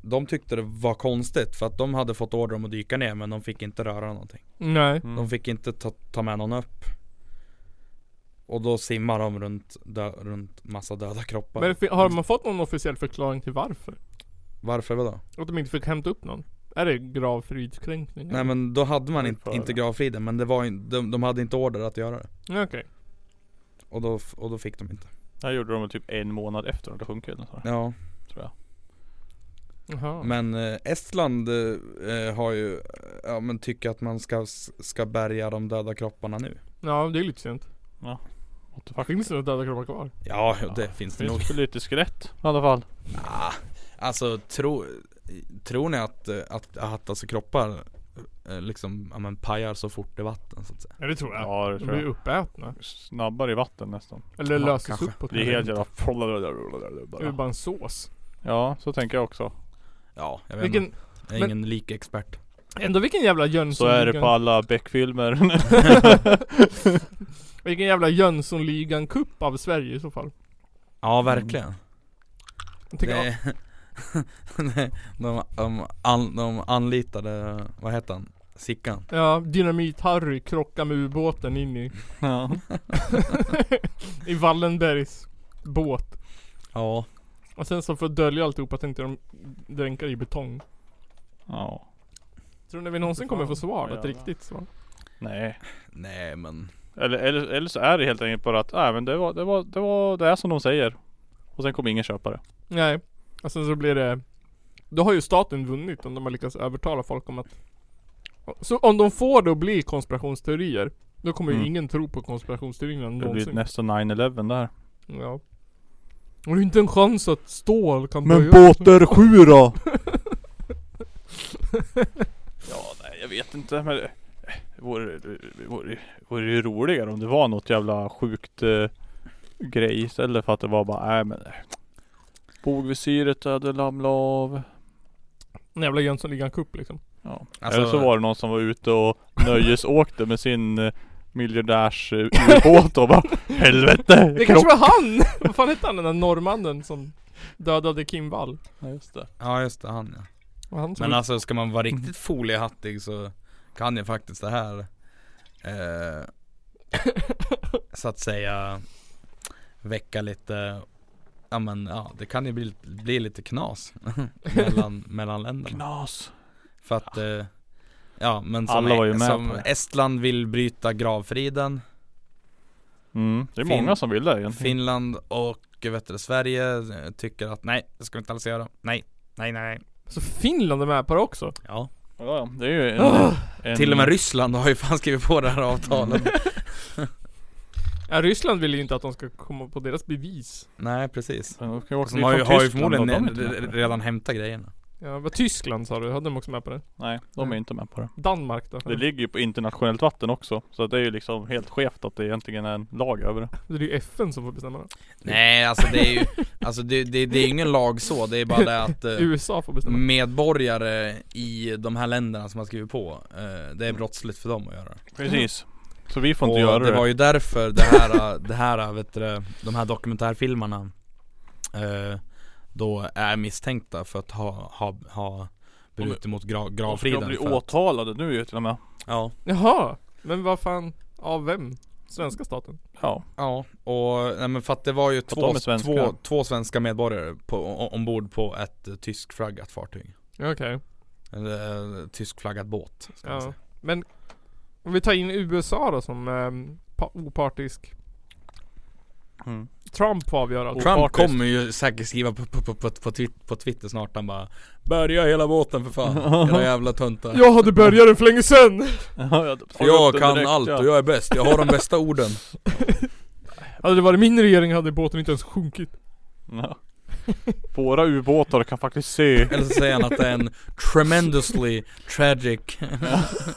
Speaker 1: De tyckte det var konstigt för att de hade fått order om att dyka ner men de fick inte röra någonting
Speaker 3: Nej.
Speaker 2: Mm.
Speaker 1: De fick inte ta, ta med någon upp Och då simmar de runt, dö, runt massa döda kroppar
Speaker 3: Men fi- har man fått någon officiell förklaring till varför?
Speaker 1: Varför vadå?
Speaker 3: Att de inte fick hämta upp någon? Är det grav fridskränkning?
Speaker 1: Nej men då hade man inte, inte gravfriden men det var ju, de, de hade inte order att göra det
Speaker 3: Okej.
Speaker 1: Och då, f- och då fick de inte
Speaker 2: Det här gjorde de väl typ en månad efter att det sjunkit eller nåt sånt där.
Speaker 1: Ja
Speaker 2: Tror jag.
Speaker 3: Jaha.
Speaker 1: Men eh, Estland eh, eh, har ju, eh, ja men tycker att man ska, ska bärga de döda kropparna nu
Speaker 3: Ja, det är lite sent.
Speaker 2: Ja. What the fuck.
Speaker 3: Finns det några döda kroppar kvar?
Speaker 1: Ja, det finns det nog
Speaker 2: Finns det lite skelett i alla fall?
Speaker 1: ah, Alltså tro, tror ni att, eh, att, att alltså kroppar eh, liksom, ja men pajar så fort i vatten så att säga?
Speaker 3: Ja det tror jag.
Speaker 2: Ja det
Speaker 3: de
Speaker 2: tror
Speaker 3: blir
Speaker 2: jag.
Speaker 3: uppätna.
Speaker 2: Snabbare i vatten nästan.
Speaker 3: Eller
Speaker 1: Ja,
Speaker 3: löses
Speaker 1: kanske.
Speaker 3: upp på
Speaker 2: Det är helt
Speaker 3: Det är
Speaker 2: jävla...
Speaker 3: bara en sås.
Speaker 2: Ja, så tänker jag också.
Speaker 1: Ja, jag vet
Speaker 3: Vilken,
Speaker 1: inte, jag är
Speaker 3: men-
Speaker 1: ingen likexpert
Speaker 3: ändå vilken jävla
Speaker 2: Så är det på *laughs*
Speaker 3: Jönssonligan.
Speaker 2: alla Beck-filmer.
Speaker 3: *laughs* Vilken jävla Jönssonligan-cup av Sverige i så fall.
Speaker 1: Ja verkligen
Speaker 3: Mm. Jag tänker,
Speaker 1: det, de, *laughs* de, an, de anlitade, vad hette han? Sickan
Speaker 3: Ja, Dynamit-Harry krockar med ubåten
Speaker 2: *laughs*
Speaker 3: in i,
Speaker 2: ja.
Speaker 3: i Wallenbergs båt.
Speaker 1: Ja
Speaker 3: Och sen så för att dölja alltihopa tänkte de dränka det i betong.
Speaker 2: ja.
Speaker 3: Tror ni vi någonsin kommer få svar? Ett
Speaker 2: Jävlar.
Speaker 3: riktigt svar?
Speaker 2: Nej.
Speaker 1: Nej men
Speaker 2: Eller, eller, eller så är det helt enkelt bara att, nej men det var, det var, det var, det är som de säger. Och sen kommer ingen köpa det.
Speaker 3: Nej. Och sen så blir det Då har ju staten vunnit om de har lyckats övertala folk om att Så om de får det att bli konspirationsteorier Då kommer ju
Speaker 2: Mm.
Speaker 3: ingen tro på konspirationsteorierna
Speaker 2: Det blir
Speaker 3: någonsin
Speaker 2: nästa 9-11 där.
Speaker 3: Ja Och det är inte en chans att stål kan böja upp sig.
Speaker 2: båter 7 då? *laughs* ja, nej jag vet inte men det vore, eh, vore, vore ju roligare om det var något jävla sjukt eh, grej istället för att det var bara, nej men eh, Bogvisiret hade ramlat av.
Speaker 3: En jävla Jönssonligan-kupp liksom
Speaker 2: Ja.
Speaker 1: Alltså-
Speaker 2: Eller så var det någon som var ute och nöjesåkte med sin eh, miljardärs eh, ubåt och bara Helvete!
Speaker 3: Det kanske var han! *laughs* Vad fan hette han den där norrmannen som dödade Kim Wall?
Speaker 2: Ja, just det.
Speaker 1: Ja just det,
Speaker 3: Mm.
Speaker 1: han ja
Speaker 3: Var han som
Speaker 1: Men alltså ska man vara riktigt foliehattig så kan jag faktiskt det här eh, Så att säga Väcka lite Ja men ja, det kan ju bli, bli lite knas *laughs* mellan, mellan länderna
Speaker 2: Knas!
Speaker 1: För att eh, Ja men som,
Speaker 2: Alla var ju med på
Speaker 1: som
Speaker 2: det.
Speaker 1: Estland vill bryta gravfriden
Speaker 2: Mm. Det är
Speaker 1: Fin-
Speaker 2: många som vill det egentligen.
Speaker 1: Finland och vet du, Sverige eh, tycker att nej, det ska vi inte alls göra. Nej, nej, nej. nej.
Speaker 3: *laughs* Så Finland är med på det också?
Speaker 1: Ja.
Speaker 2: Ja, ja, det är ju en, en
Speaker 1: Ah! Till och med Ryssland har ju fan skrivit på det här *laughs* avtalet.
Speaker 3: Ja Ryssland vill ju inte att de ska komma på deras bevis
Speaker 1: nej, precis.
Speaker 2: De kan ju åka
Speaker 1: Som
Speaker 2: dit
Speaker 1: Alltså, har ju,
Speaker 2: från
Speaker 1: har ju
Speaker 2: Tyskland,
Speaker 1: förmodligen
Speaker 2: och de är
Speaker 1: re-
Speaker 2: inte med på det.
Speaker 1: redan hämtat grejerna.
Speaker 3: Ja, vad Tyskland sa du? Hade de också med på det?
Speaker 2: Nej, de är inte med på det.
Speaker 3: Danmark då?
Speaker 2: Det ligger ju på internationellt vatten också. Så det är ju liksom helt skevt att det egentligen är en lag över det.
Speaker 3: Det är ju FN som får bestämma det.
Speaker 1: Nej, alltså det är ju, alltså det, det, det är ju ingen lag så, det är bara det att
Speaker 2: *laughs*
Speaker 1: eh,
Speaker 3: USA får bestämma.
Speaker 1: medborgare i de här länderna som har skrivit på, eh, det är brottsligt för dem att göra det.
Speaker 2: Precis. Så vi får inte
Speaker 1: Och
Speaker 2: göra
Speaker 1: det
Speaker 2: det.
Speaker 1: var ju därför det här, *laughs* det här vet du, det, de här dokumentärfilmerna eh, Då är misstänkta för att ha, ha, ha brutit mot gra,
Speaker 2: De ska
Speaker 1: gravfriden
Speaker 2: bli
Speaker 1: för att-
Speaker 2: åtalade nu ju till och med.
Speaker 1: Ja,
Speaker 3: Jaha! Men vad fan? Av vem? Svenska staten?
Speaker 2: Ja.
Speaker 1: ja och nej, men för att det var ju
Speaker 2: de
Speaker 1: två,
Speaker 2: är svenskar.
Speaker 1: två, två svenska medborgare på, o- ombord på ett eh, tyskflaggat fartyg
Speaker 3: Okej.
Speaker 1: Eller eh, tyskflaggad båt ska man
Speaker 3: Ja.
Speaker 1: säga.
Speaker 3: Men om vi tar in USA då som ehm, pa- opartisk.
Speaker 2: Mm.
Speaker 3: Trump får avgöra allt.
Speaker 1: Trump
Speaker 2: Opartiskt.
Speaker 1: kommer ju säkert skriva på, på, på, på, på, twit- på Twitter snart han bara Bärga hela båten för
Speaker 2: *laughs*
Speaker 1: fan, era jävla töntar
Speaker 3: Jag hade börjat den för länge sedan!
Speaker 2: *laughs* Ja, jag
Speaker 1: För jag kan allt och jag är bäst, jag har de bästa orden
Speaker 3: Hade det varit min regering hade båten inte ens sjunkit.
Speaker 2: Ja. Våra ubåtar kan faktiskt se.
Speaker 1: Eller så säger han att det är en tremendously tragic *laughs*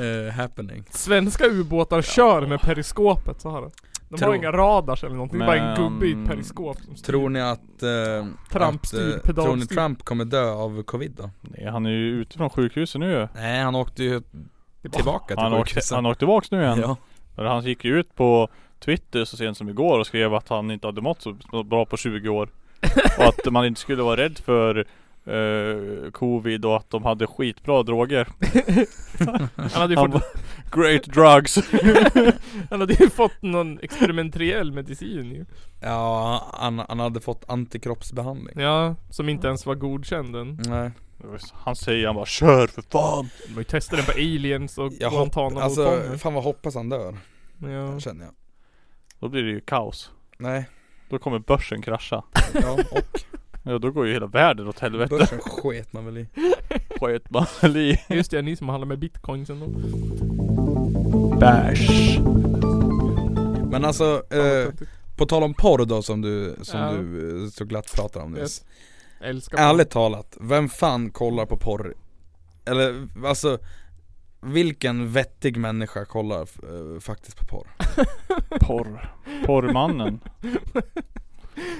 Speaker 1: eh, happening
Speaker 3: Svenska ubåtar kör med periskopet så här. De
Speaker 1: Tror-
Speaker 3: har inga radars eller någonting. Det är bara en
Speaker 2: Men-
Speaker 3: gubbe i ett periskop som styr.
Speaker 1: Tror ni att, eh, att
Speaker 3: Trump-styrd,
Speaker 1: eh, tror ni
Speaker 3: pedalstyrd.
Speaker 1: Trump kommer dö av covid då?
Speaker 2: Nej, han är ju ute från sjukhuset nu ju.
Speaker 1: Nej han åkte ju tillbaka till
Speaker 2: Han åkte,
Speaker 1: sjukhuset
Speaker 2: han åkte tillbaks nu igen.
Speaker 1: ja.
Speaker 2: Men han gick ju ut på Twitter så sent som igår
Speaker 3: *laughs*
Speaker 2: och skrev att han inte hade mått så bra på 20 år. Och att man inte skulle vara rädd för eh, covid och att de hade skitbra droger.
Speaker 3: Han hade ju
Speaker 2: Han
Speaker 3: fått-
Speaker 2: bara, Great drugs.
Speaker 3: *laughs* Han hade ju fått någon experimentell medicin ju.
Speaker 1: Ja, han, han hade fått antikroppsbehandling
Speaker 3: Ja, som inte ens var godkänd än.
Speaker 1: Nej
Speaker 2: Han säger han bara kör för fan.
Speaker 3: De har ju testat den på aliens och
Speaker 1: jag hopp, alltså,
Speaker 3: Guantanamo-fångar.
Speaker 1: fan vad hoppas han dör
Speaker 3: ja.
Speaker 1: Känner jag
Speaker 2: Då blir det ju kaos.
Speaker 1: Nej,
Speaker 2: Då kommer börsen krascha.
Speaker 1: ja och
Speaker 2: Ja, då går ju hela världen åt helvete.
Speaker 1: börsen sket man väl i
Speaker 2: Sket man i.
Speaker 3: Just det, ni som handlar med bitcoins
Speaker 1: Eh,
Speaker 3: ändå.
Speaker 2: Bärs.
Speaker 1: Men alltså, eh, på tal om porr då som du, som
Speaker 3: Ja.
Speaker 1: du eh, så glatt pratar om nyss
Speaker 3: Yes. Älskar
Speaker 1: Ärligt talat, vem fan kollar på porr? Eller alltså vilken vettig människa kollar eh, faktiskt på porr?
Speaker 2: Porr.
Speaker 3: *laughs*
Speaker 2: Porrmannen.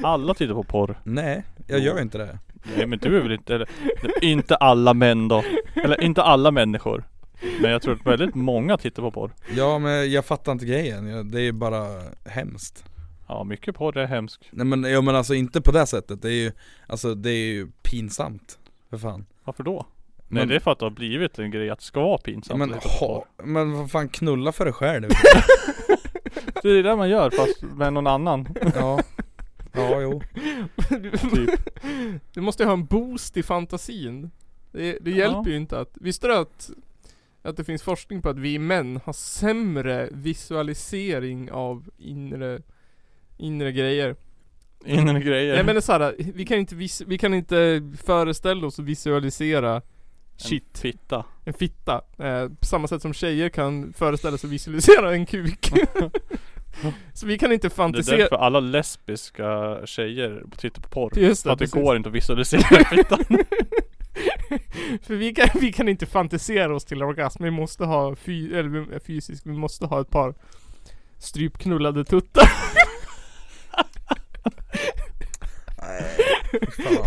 Speaker 2: Alla tittar på porr.
Speaker 1: Nej, jag gör inte det
Speaker 2: Nej men du är väl inte, eller, inte alla män då. Eller inte alla människor. Men jag tror att väldigt många tittar på porr.
Speaker 1: Ja men jag fattar inte grejen, Jag- det är bara hemskt
Speaker 2: Ja mycket porr är hemskt.
Speaker 1: Nej men, ja, men alltså inte på det sättet, det är ju, alltså det är ju pinsamt För fan
Speaker 2: Varför då? Nej
Speaker 1: Men-
Speaker 2: det är för att det har blivit en grej att det ska vara
Speaker 1: ja,
Speaker 2: pinsamt
Speaker 1: men,
Speaker 2: att titta på
Speaker 1: ha,
Speaker 2: porr.
Speaker 1: men vad fan knulla för dig själv
Speaker 2: Det är det man gör fast med någon annan. *laughs*
Speaker 1: Ja, ja jo
Speaker 2: Typ.
Speaker 3: Du måste ju ha en boost i fantasin. Det, det
Speaker 2: Ja.
Speaker 3: hjälper ju inte att... Visste du att, att det finns forskning på att vi män har sämre visualisering av inre, inre grejer?
Speaker 2: Inre grejer.
Speaker 3: Nej men det är så här, vi kan inte, vis, vi kan inte föreställa oss och visualisera shit,
Speaker 2: En fitta.
Speaker 3: en fitta. Eh, på samma sätt som tjejer kan föreställa sig och visualisera en kuk.
Speaker 1: *laughs*
Speaker 3: så vi kan inte
Speaker 2: Det är
Speaker 3: fantisera.
Speaker 2: därför alla lesbiska tjejer tittar på porr.
Speaker 3: Just det,
Speaker 2: för att det
Speaker 3: precis.
Speaker 2: går inte att visualisera
Speaker 3: *laughs*
Speaker 2: fittan.
Speaker 3: För vi kan, vi kan inte fantisera oss till orgasm. Vi måste ha fy, eller vi- eh, fysiskt, vi måste ha ett par strypknullade tuttar. *laughs*
Speaker 1: fan.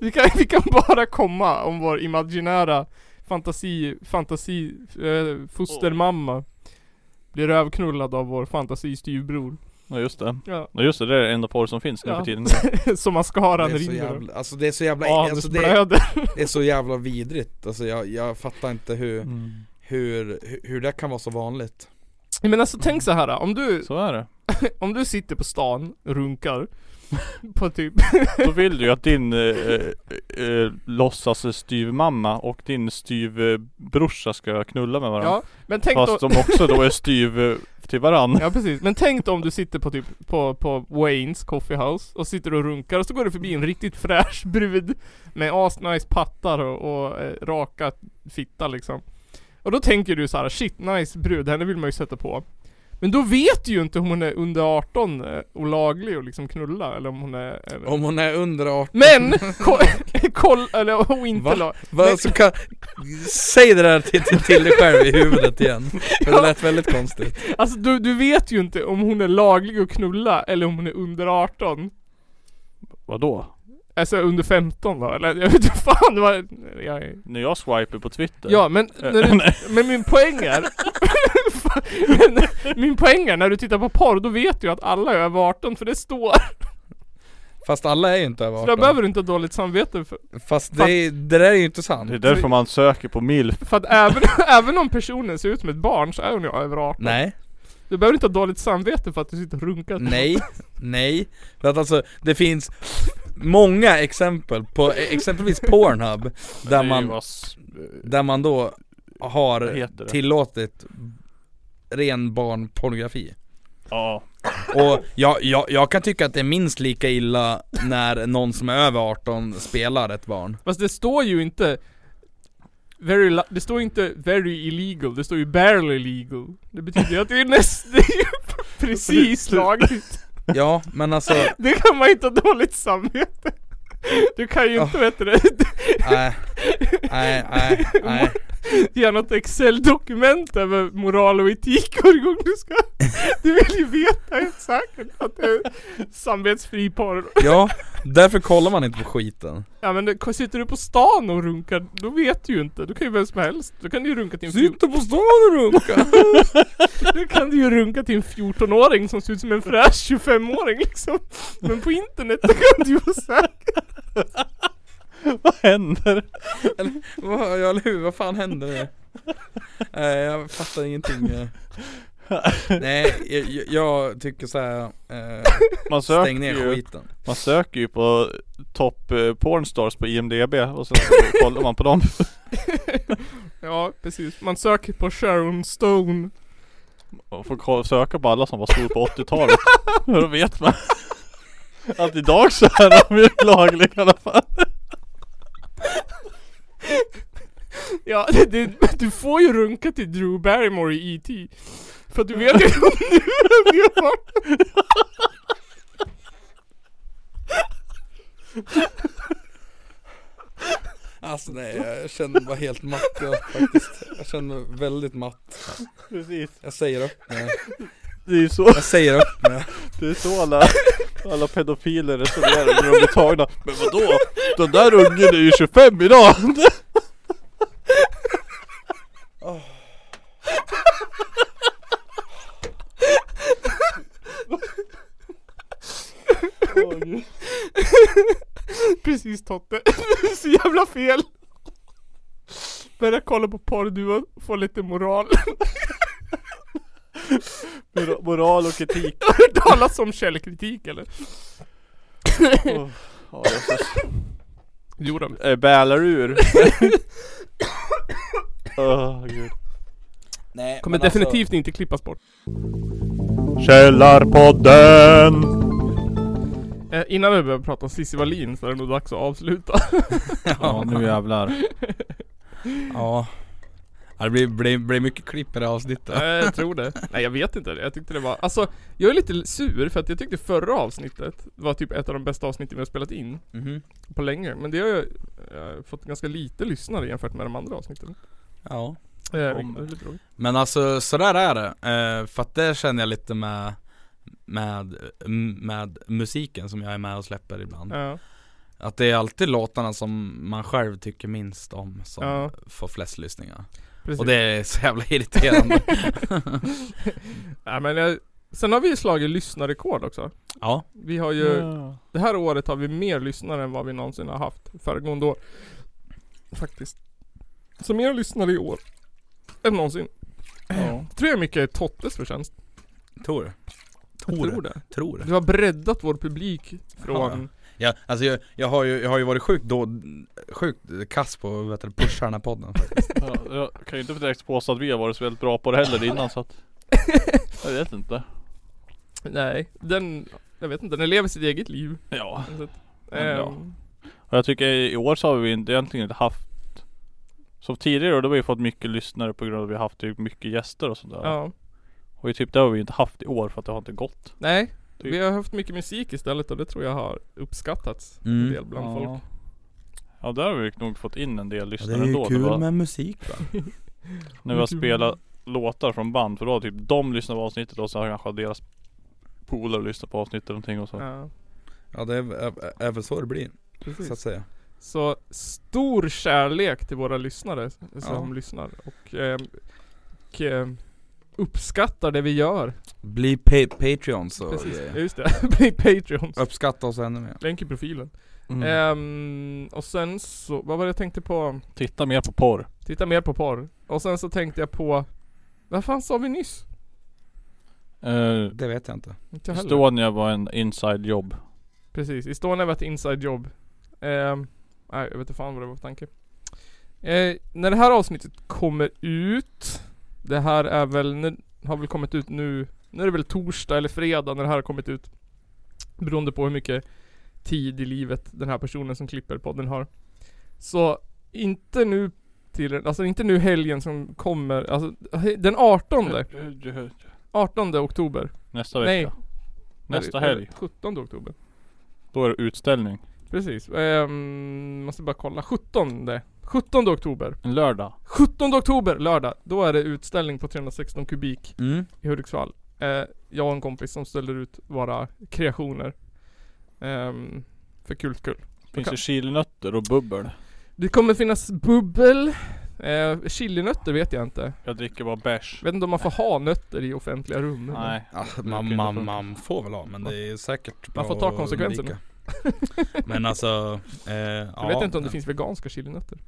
Speaker 3: Vi kan, vi kan bara komma om vår imaginära fantasi, fantasi, eh, fostermamma blir rövknullad av vår fantasistyvbror.
Speaker 2: Ja just det.
Speaker 3: Ja.
Speaker 2: Ja just det, det är det enda porr som finns nu
Speaker 3: Ja.
Speaker 2: för tiden.
Speaker 3: *laughs* Som mascaran
Speaker 1: Det är så
Speaker 3: rinner av.
Speaker 1: jävla, alltså det är så jävla,
Speaker 3: Ja,
Speaker 1: alltså,
Speaker 3: det
Speaker 1: det, är,
Speaker 3: blöder.
Speaker 1: det är så jävla vidrigt Alltså jag, jag fattar inte hur,
Speaker 2: Mm.
Speaker 1: hur, hur, hur det kan vara så vanligt
Speaker 3: Men alltså tänk så här om du,
Speaker 2: Så är det.
Speaker 3: om du sitter på stan, runkar, på typ
Speaker 2: Då vill du ju att din eh, eh, eh, låtsas styvmamma och din styvbrorsa ska knulla med varandra.
Speaker 3: Ja, men tänk
Speaker 2: Fast
Speaker 3: då...
Speaker 2: de också då är styv eh, till varandra.
Speaker 3: Ja precis, men tänk då om du sitter på typ på, på Waynes Coffee House och sitter och runkar och så går du förbi en riktigt fräsch brud med asnice pattar och, och eh, raka fitta liksom. Och då tänker du så här: shit nice brud, henne vill man ju sätta på. Men då vet du ju inte om hon är under 18 eh, och laglig och liksom knulla eller om hon är... eh,
Speaker 1: Om hon är under 18,
Speaker 3: Men! ko- *laughs* Koll, eller och inte
Speaker 1: Va?
Speaker 3: lag-
Speaker 1: vad så kan, säg det där till, till, till dig själv i huvudet igen För det lät väldigt konstigt
Speaker 3: Alltså du, du vet ju inte om hon är laglig och knulla eller om hon är under 18.
Speaker 2: Vadå?
Speaker 3: Alltså under 15 då, eller jag vet inte *laughs* fan vad... Jag är...
Speaker 2: När jag swipar på Twitter.
Speaker 3: Ja men,
Speaker 2: Eh,
Speaker 3: när
Speaker 2: nej.
Speaker 3: du, men min poäng är... *laughs* men, min poäng är när du tittar på porr, då vet du ju att alla är över 18 för det står.
Speaker 1: Fast alla är ju inte över
Speaker 3: Så
Speaker 1: 18
Speaker 3: där behöver du inte ha dåligt samvete för.
Speaker 1: Fast det, är- det där är ju inte sant
Speaker 2: Det är därför man söker på milf.
Speaker 3: För att även, *laughs* även om personen ser ut som ett barn så är hon ju över 18.
Speaker 1: Nej,
Speaker 3: Du behöver inte ha dåligt samvete för att du sitter och runkar.
Speaker 1: nej, nej För att alltså, det finns många exempel på, exempelvis Pornhub Där
Speaker 2: Det är ju
Speaker 1: man, eh,
Speaker 2: vad s-
Speaker 1: där man då
Speaker 2: Vad
Speaker 1: har
Speaker 2: heter det?
Speaker 1: tillåtit ren barnpornografi
Speaker 2: Ja. *laughs*
Speaker 1: Och jag, jag, jag kan tycka att det är minst lika illa när någon som är över 18 spelar ett barn
Speaker 3: Fast det står ju inte... Very li- det står ju inte 'very illegal', det står ju 'barely legal' Det betyder ju att det är nästan... Det är ju precis lagligt.
Speaker 1: Ja, men alltså,
Speaker 3: Det kan man inte ha dåligt samvete. Du kan ju inte vet du,
Speaker 1: nej, nej, nej, nej
Speaker 3: *laughs* göra något excel-dokument över moral och etik varje gång du ska. Du vill ju veta helt säkert att det är samvetsfri porr.
Speaker 1: Ja, därför kollar man inte på skiten
Speaker 3: Ja men det, sitter du på stan och runkar, då vet du ju inte. Då kan ju vem som helst. Då kan du ju runka till en fjor-
Speaker 1: på stan och runka!
Speaker 3: Då kan du ju runka till en 14-åring som ser ut som en fräsch 25-åring liksom. Men på internet då kan du ju vara säker.
Speaker 2: Vad händer?
Speaker 1: Eller, vad, ja, eller hur, vad fan hände nu? Nej jag fattar ingenting eh. Nej, jag, jag- jag tycker såhär, eh,
Speaker 2: Man söker
Speaker 1: stäng ner
Speaker 2: ju,
Speaker 1: skiten
Speaker 2: Man söker ju på topp eh, pornstars på IMDB och sen så *laughs* kollar man på dem.
Speaker 3: Ja, precis. Man söker på Sharon Stone.
Speaker 2: Och får ko- söka på alla som var stor på 80-talet. Då vet man. *laughs* Att idag så är de ju lagliga i alla fall.
Speaker 3: Ja, det, det, du får ju runka till Drew Barrymore i E.T. För att du vet ju *laughs* om du är
Speaker 1: Alltså nej, jag känner mig bara helt matt jag, faktiskt Jag känner mig väldigt matt
Speaker 2: Precis.
Speaker 1: Jag säger upp mig
Speaker 2: Det är ju så,
Speaker 1: Jag säger upp mig
Speaker 2: det är så alla, alla pedofiler resonerar när de blir tagna. Men vadå? Den där ungen är ju 25 idag!
Speaker 3: Precis Totte. Det *laughs* är så jävla fel. Börja kolla på porr du och få lite moral. *laughs*
Speaker 2: Mor- Moral och *laughs* etik.
Speaker 3: Har du hört talas om källkritik eller?
Speaker 2: Oh. Ja, jösses.
Speaker 3: Jo då.
Speaker 2: Eh, Bälar *laughs* ur. Åh gud.
Speaker 1: Nej,
Speaker 3: Kommer
Speaker 1: men alltså-
Speaker 3: definitivt inte klippas bort.
Speaker 2: Källarpodden!
Speaker 3: Eh, innan vi börjar prata om Cissi Wallin så är det nog dags att avsluta.
Speaker 1: alltså,
Speaker 2: Ja nu jävlar.
Speaker 1: Ja Ja, det blir, blir, blir mycket klipp i det här avsnittet
Speaker 3: Eh, jag tror det. *laughs* Nej jag vet inte. Jag tyckte det var, alltså jag är lite sur för att jag tyckte förra avsnittet var typ ett av de bästa avsnitten vi har spelat in
Speaker 1: Mhm.
Speaker 3: på länge. Men det har ju eh, fått ganska lite lyssnare jämfört med de andra avsnitten.
Speaker 1: Ja
Speaker 3: Eh,
Speaker 2: Om-
Speaker 3: vilket är lite roligt.
Speaker 1: Men alltså sådär är det, eh, för att det känner jag lite med med, m- med musiken som jag är med och släpper ibland
Speaker 3: Ja.
Speaker 1: Att det är alltid låtarna som man själv tycker minst om som
Speaker 3: Ja.
Speaker 1: får flest lyssningar
Speaker 3: Precis.
Speaker 1: Och det är så jävla
Speaker 3: *laughs*
Speaker 1: irriterande
Speaker 3: Nej, men jag, sen har vi ju slagit lyssnarrekord också.
Speaker 1: Ja,
Speaker 3: Vi har ju, det här året har vi mer lyssnare än vad vi någonsin har haft föregående år. Faktiskt. Så mer lyssnare i år. Än någonsin.
Speaker 1: Ja.
Speaker 3: Tror jag mycket är Tottes förtjänst.
Speaker 1: tror du?
Speaker 3: Jag
Speaker 1: Tror
Speaker 3: tror det.
Speaker 1: Tror du?
Speaker 3: Du har breddat vår publik
Speaker 1: Ja.
Speaker 3: från...
Speaker 1: Typ.
Speaker 3: *laughs*
Speaker 1: Ja, alltså jag, jag, har ju, jag har ju varit sjukt då, sjukt kass på vet du, pusha den här podden faktiskt.
Speaker 2: Ja, jag kan ju inte direkt påstå att vi har varit så väldigt bra på det heller innan så att Jag vet inte
Speaker 3: Nej, den... Jag vet inte, den lever sitt eget liv.
Speaker 2: Ja
Speaker 3: Så att,
Speaker 2: Men ja.
Speaker 3: ehm,
Speaker 2: Och jag tycker i år så har vi inte- egentligen inte haft Som tidigare år, då har vi fått mycket lyssnare på grund av att vi har haft typ mycket gäster och sådär
Speaker 3: ja.
Speaker 2: Och typ det har vi inte haft i år för att det har inte gått
Speaker 3: Nej,
Speaker 2: Typ.
Speaker 3: vi har haft mycket musik istället och det tror jag har uppskattats en del bland folk.
Speaker 2: Ja där har vi nog fått in en del lyssnare ändå det var,
Speaker 1: med musik va?
Speaker 2: När vi
Speaker 3: Mm.
Speaker 2: har spelat låtar från band för då har typ de lyssnat på avsnittet och så har kanske deras polare lyssnat på avsnittet eller någonting och så
Speaker 3: Ja,
Speaker 1: Ja det är, är, är väl så det blir,
Speaker 3: precis.
Speaker 1: så att säga
Speaker 3: Så stor kärlek till våra lyssnare som lyssnar och, eh, och eh, uppskattar det vi gör.
Speaker 1: Bli pa- Patreon så
Speaker 3: Precis, ja,
Speaker 1: grejer.
Speaker 3: just det. *laughs* Bli Patreons.
Speaker 1: Uppskatta oss ännu mer
Speaker 3: Länk i profilen.
Speaker 2: Mm.
Speaker 3: Ehm, och sen så, vad var det jag tänkte på?
Speaker 2: Titta mer på porr
Speaker 3: Titta mer på porr. Och sen så tänkte jag på, vad fan sa vi nyss?
Speaker 2: Eh,
Speaker 1: Det vet jag inte
Speaker 3: Inte jag heller.
Speaker 2: Estonia var en inside job.
Speaker 3: Precis, Estonia var ett inside job. Ehm, nej, jag vet inte fan vad det var för tanke. Eh, när det här avsnittet kommer ut, det här är väl, nu, har väl kommit ut nu, nu är det väl torsdag eller fredag när det här har kommit ut. Beroende på hur mycket tid i livet den här personen som klipper podden har. Så inte nu till, alltså inte nu helgen som kommer, alltså he- den 18, 18 oktober.
Speaker 2: Nästa vecka.
Speaker 3: Nej,
Speaker 2: Nästa
Speaker 3: eller-
Speaker 2: helg.
Speaker 3: 17 oktober.
Speaker 2: Då är det utställning.
Speaker 3: Precis. Ehm, måste bara kolla. 17. 17 oktober.
Speaker 2: En lördag.
Speaker 3: 17 oktober, lördag. Då är det utställning på 316 kubik
Speaker 1: mm.
Speaker 3: i Hudiksvall. Eh, jag och en kompis som ställer ut våra kreationer. Ehm, för kultkull.
Speaker 2: Finns
Speaker 3: Okej.
Speaker 2: det chilinötter och bubbel.
Speaker 3: Det kommer finnas bubbel. Eh, chilinötter vet jag inte.
Speaker 2: Jag dricker bara bärs.
Speaker 3: Jag vet inte om man får ha nötter i offentliga rum.
Speaker 2: Nej.
Speaker 1: ja,
Speaker 2: brukar
Speaker 1: man,
Speaker 2: inte
Speaker 1: man,
Speaker 2: funka.
Speaker 1: man får väl ha men det är säkert
Speaker 3: Man
Speaker 1: bra
Speaker 3: får ta
Speaker 1: att
Speaker 3: konsekvenserna.
Speaker 1: undvika.
Speaker 3: *laughs*
Speaker 1: Men alltså, eh,
Speaker 3: Jag vet inte om det finns veganska chilinötter.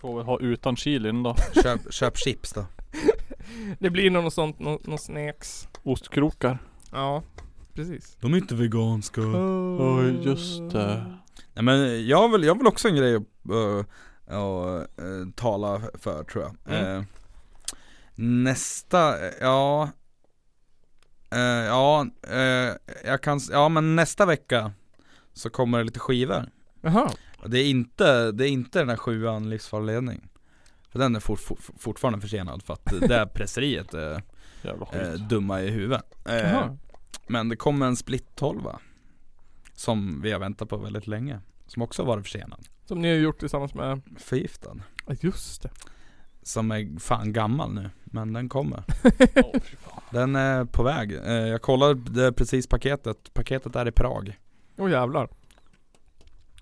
Speaker 2: Får väl ha utan chilin då.
Speaker 1: Köp, köp chips då.
Speaker 3: Det blir nog något sånt, något, något snacks.
Speaker 2: Ostkrokar.
Speaker 3: Ja, precis.
Speaker 1: De är inte veganska.
Speaker 3: Mm.
Speaker 2: Oj just det.
Speaker 1: Nej men jag har väl, jag har väl också en grej att eh, att, eh, tala för tror jag.
Speaker 3: Mm.
Speaker 1: Eh, nästa, ja. Eh, ja, eh, jag kan, s- ja men nästa vecka så kommer det lite skivor.
Speaker 3: Jaha.
Speaker 1: Det är inte, det är inte den här sjuan livsfarledning. För den är fort, fort, fortfarande försenad för att det
Speaker 3: *laughs*
Speaker 1: där presseriet är
Speaker 2: Jävla
Speaker 1: eh,
Speaker 2: skit.
Speaker 1: dumma i huvudet. Eh,
Speaker 3: Jaha.
Speaker 1: men det kommer en split 12 Som vi har väntat på väldigt länge. Som också varit försenad.
Speaker 3: Som ni har gjort tillsammans med...
Speaker 1: Förgiftad.
Speaker 3: Ja just det.
Speaker 1: Som är fan gammal nu, men den kommer Den är på väg, Eh, jag kollade precis paketet, paketet är i Prag
Speaker 3: Åh jävlar.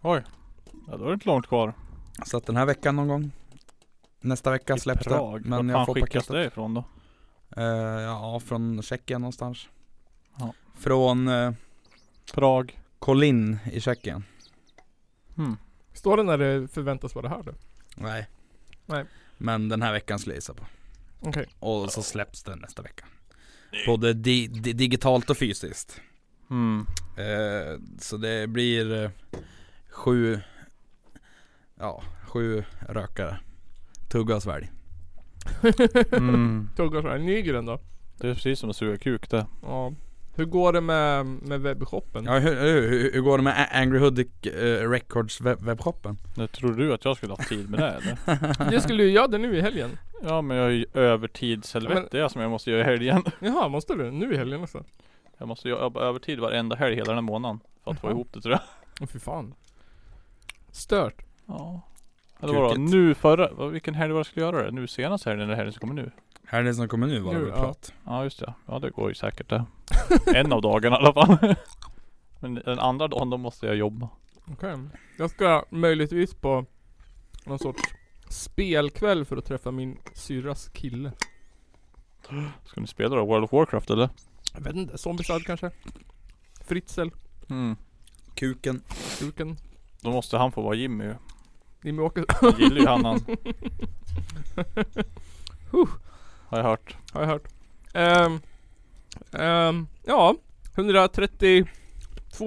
Speaker 2: Oj. Ja då är det inte långt kvar.
Speaker 1: Så att den här veckan någon gång Nästa vecka
Speaker 2: I
Speaker 1: släpps det,
Speaker 2: Prag.
Speaker 1: men
Speaker 2: Vart
Speaker 1: jag
Speaker 2: fan
Speaker 1: får
Speaker 2: skickas
Speaker 1: paketet
Speaker 2: det ifrån då?
Speaker 1: Eh, Ja, från Tjeckien någonstans
Speaker 2: Ja.
Speaker 1: Från eh,
Speaker 2: Prag.
Speaker 1: Kolin i Tjeckien
Speaker 2: Hmm.
Speaker 3: Står det när det förväntas vara här då?
Speaker 1: Nej
Speaker 3: Nej.
Speaker 1: Men den här veckan skulle jag gissa på
Speaker 3: Okej.
Speaker 1: Och så släpps den nästa vecka Både di- di- digitalt och fysiskt
Speaker 2: Hmm.
Speaker 1: Eh, så det blir eh, sju, ja, sju rökare. Tugga och svälj.
Speaker 2: Mm.
Speaker 3: Tuggar så här. Nygren då?
Speaker 2: Det är precis som att suga kuk det.
Speaker 3: Ja. Hur går det med, med webbshoppen?
Speaker 1: Ja, hur, hur, hur går det med A- Angry Hoodic eh, Records web- webbshoppen?
Speaker 2: Nu tror du att jag skulle ha haft tid med det eller?
Speaker 3: Det skulle ju göra det nu i helgen.
Speaker 2: Ja men jag har ju övertidshelvete jag som jag måste göra i helgen.
Speaker 3: Jaha, måste du? Nu i helgen alltså?
Speaker 2: Jag måste jobba övertid varenda helg hela den här månaden. För att få
Speaker 3: Jaha.
Speaker 2: ihop det tror jag.
Speaker 3: Åh fy fan. Stört.
Speaker 2: Ja. Eller vadå?
Speaker 1: Kukigt.
Speaker 2: Nu förra, vad- vilken helg var det jag skulle göra det? Nu senast helgen eller helgen som kommer nu?
Speaker 1: Här är det som kommer nu var det
Speaker 3: Nu,
Speaker 1: väl
Speaker 3: ja.
Speaker 1: prat.
Speaker 2: Ja just det. Ja det går ju säkert det. *laughs* en av dagarna i alla fall. *laughs* Men den andra dagen då måste jag jobba.
Speaker 3: Okej. Jag ska möjligtvis på någon sorts spelkväll för att träffa min syrras kille.
Speaker 2: Ska ni spela då World of Warcraft eller?
Speaker 3: Jag vet inte, Zombiesad kanske? Fritzl,
Speaker 2: Mm.
Speaker 1: Kuken.
Speaker 3: Duken,
Speaker 2: Då måste han få vara Jimmy ju.
Speaker 3: Jimmy Åkesson.
Speaker 2: Han gillar ju han han.
Speaker 3: Huh.
Speaker 2: Har jag hört.
Speaker 3: Har jag hört. Ehm, ehm, ja, 132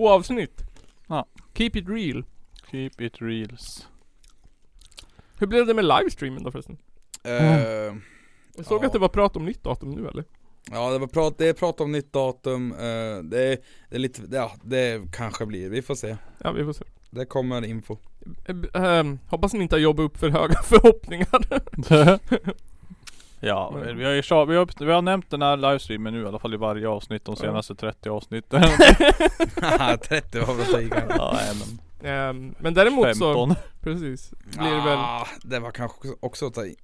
Speaker 3: avsnitt.
Speaker 2: Ja.
Speaker 3: Keep it real.
Speaker 2: Keep it reals. *laughs*
Speaker 3: Hur blev det med livestreamen då förresten?
Speaker 1: Eh,
Speaker 3: Mm. Jag såg
Speaker 1: Ja.
Speaker 3: att det var prat om nytt datum nu eller?
Speaker 1: ja, det var prat, det är prat om nytt datum. Eh, det, är, det är lite, ja, det kanske blir, vi får se.
Speaker 3: Ja, vi får se.
Speaker 1: Det kommer info.
Speaker 3: Ehm, hoppas ni inte har jobbat upp för höga
Speaker 1: *laughs*
Speaker 3: *laughs* förhoppningar.
Speaker 2: ja,
Speaker 3: Men-
Speaker 2: men vi har ju tja- vi har, vi har nämnt den här livestreamen nu i alla fall i varje avsnitt de senaste 30 avsnitten.
Speaker 1: 30 var väl att ta i kanske.
Speaker 2: ja, nej, men
Speaker 3: Ehm, men däremot så,
Speaker 2: 15.
Speaker 3: precis. Blir det väl
Speaker 1: Ah, det var kanske också- också att ta i.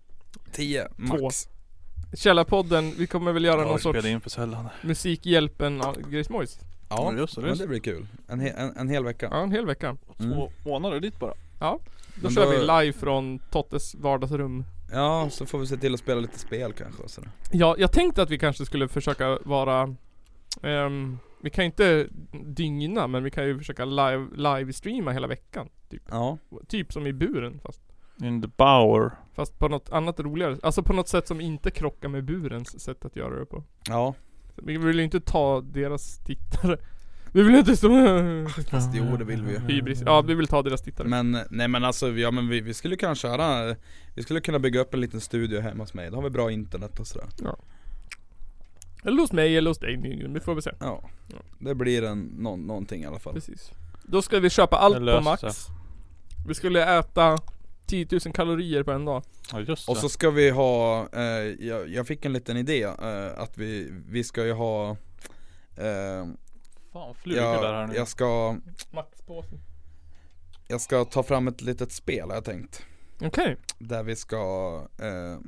Speaker 1: 10 max.
Speaker 3: Källarpodden, vi kommer väl göra
Speaker 2: Jag
Speaker 3: någon sorts
Speaker 2: spelar in för sällan.
Speaker 3: musikhjälpen av Grace Moise.
Speaker 1: Ja,
Speaker 2: Men just det,
Speaker 1: men
Speaker 2: just
Speaker 1: det blir kul. En, he- en, en hel vecka.
Speaker 3: Ja, en hel vecka.
Speaker 2: Två månader dit bara.
Speaker 3: Då
Speaker 1: Men
Speaker 3: kör
Speaker 1: då-
Speaker 3: vi live från Tottes vardagsrum.
Speaker 1: Ja, så får vi se till att spela lite spel kanske och sådär.
Speaker 3: Ja, jag tänkte att vi kanske skulle försöka vara ehm, Vi kan ju inte dygna men vi kan ju försöka live, livestreama hela veckan. Typ.
Speaker 1: Ja,
Speaker 3: typ som i buren fast,
Speaker 2: In the bower.
Speaker 3: fast på något annat roligare. Alltså på något sätt som inte krockar med burens sätt att göra det på.
Speaker 1: ja.
Speaker 3: Vi vill ju inte ta deras tittare. Vi vill inte stå... *laughs*
Speaker 1: Fast jo, det vill vi ju.
Speaker 3: Hybris. Ja, vi vill ta deras tittare.
Speaker 1: Men nej men alltså, ja men vi, vi skulle kunna köra, vi skulle kunna bygga upp en liten studio hemma hos mig. Då har vi bra internet och sådär.
Speaker 3: Eller hos mig eller hos dig Nygren, vi får väl se.
Speaker 1: Ja.
Speaker 3: Ja.
Speaker 1: Det blir en, nå- någonting i alla fall.
Speaker 3: Precis. Då ska vi köpa allt
Speaker 2: Det
Speaker 3: på
Speaker 2: löser
Speaker 3: max. Vi skulle äta 10 000 kalorier på en dag.
Speaker 2: Ja just det.
Speaker 1: Och så ska vi ha, eh, jag, jag fick en liten idé, eh, att vi, vi ska ju ha eh,
Speaker 2: Fan flugor där här
Speaker 1: jag,
Speaker 2: nu.
Speaker 1: jag ska,
Speaker 3: Maxpåsen.
Speaker 1: jag ska ta fram ett litet spel har jag tänkt.
Speaker 3: Okej.
Speaker 1: Där vi ska, eh,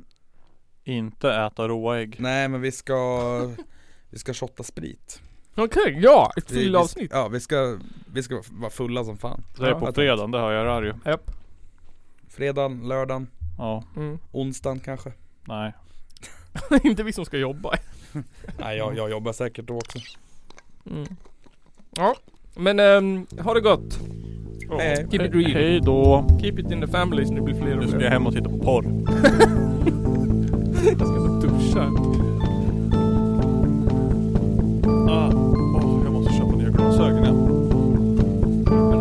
Speaker 2: Inte äta råa ägg.
Speaker 1: nej men vi ska, vi ska shotta sprit.
Speaker 3: Okej, ja! Ett
Speaker 1: Vi- vi-
Speaker 3: fyllavsnitt.
Speaker 1: Ja vi ska, vi ska vara fulla som fan
Speaker 2: Det är på
Speaker 1: Ja.
Speaker 2: fredagen, det hör jag där ju.
Speaker 3: Japp.
Speaker 1: Fredag, lördag,
Speaker 2: Ja.
Speaker 3: Mm. *laughs*
Speaker 1: onsdag kanske
Speaker 2: Nej.
Speaker 3: inte vi som ska jobba.
Speaker 1: Nej jag, jag jobbar säkert då också
Speaker 3: Mm. Ja. Men ehm, ha det gott. Och
Speaker 2: Hej.
Speaker 3: Keep it real.
Speaker 2: Hej då.
Speaker 3: Keep it in the family så ni blir fler och
Speaker 2: Nu
Speaker 3: fler.
Speaker 2: ska jag hem och titta på porr.
Speaker 3: jag ska bara duscha.
Speaker 2: Ah, åh, jag måste köpa nya glasögon igen. Åh.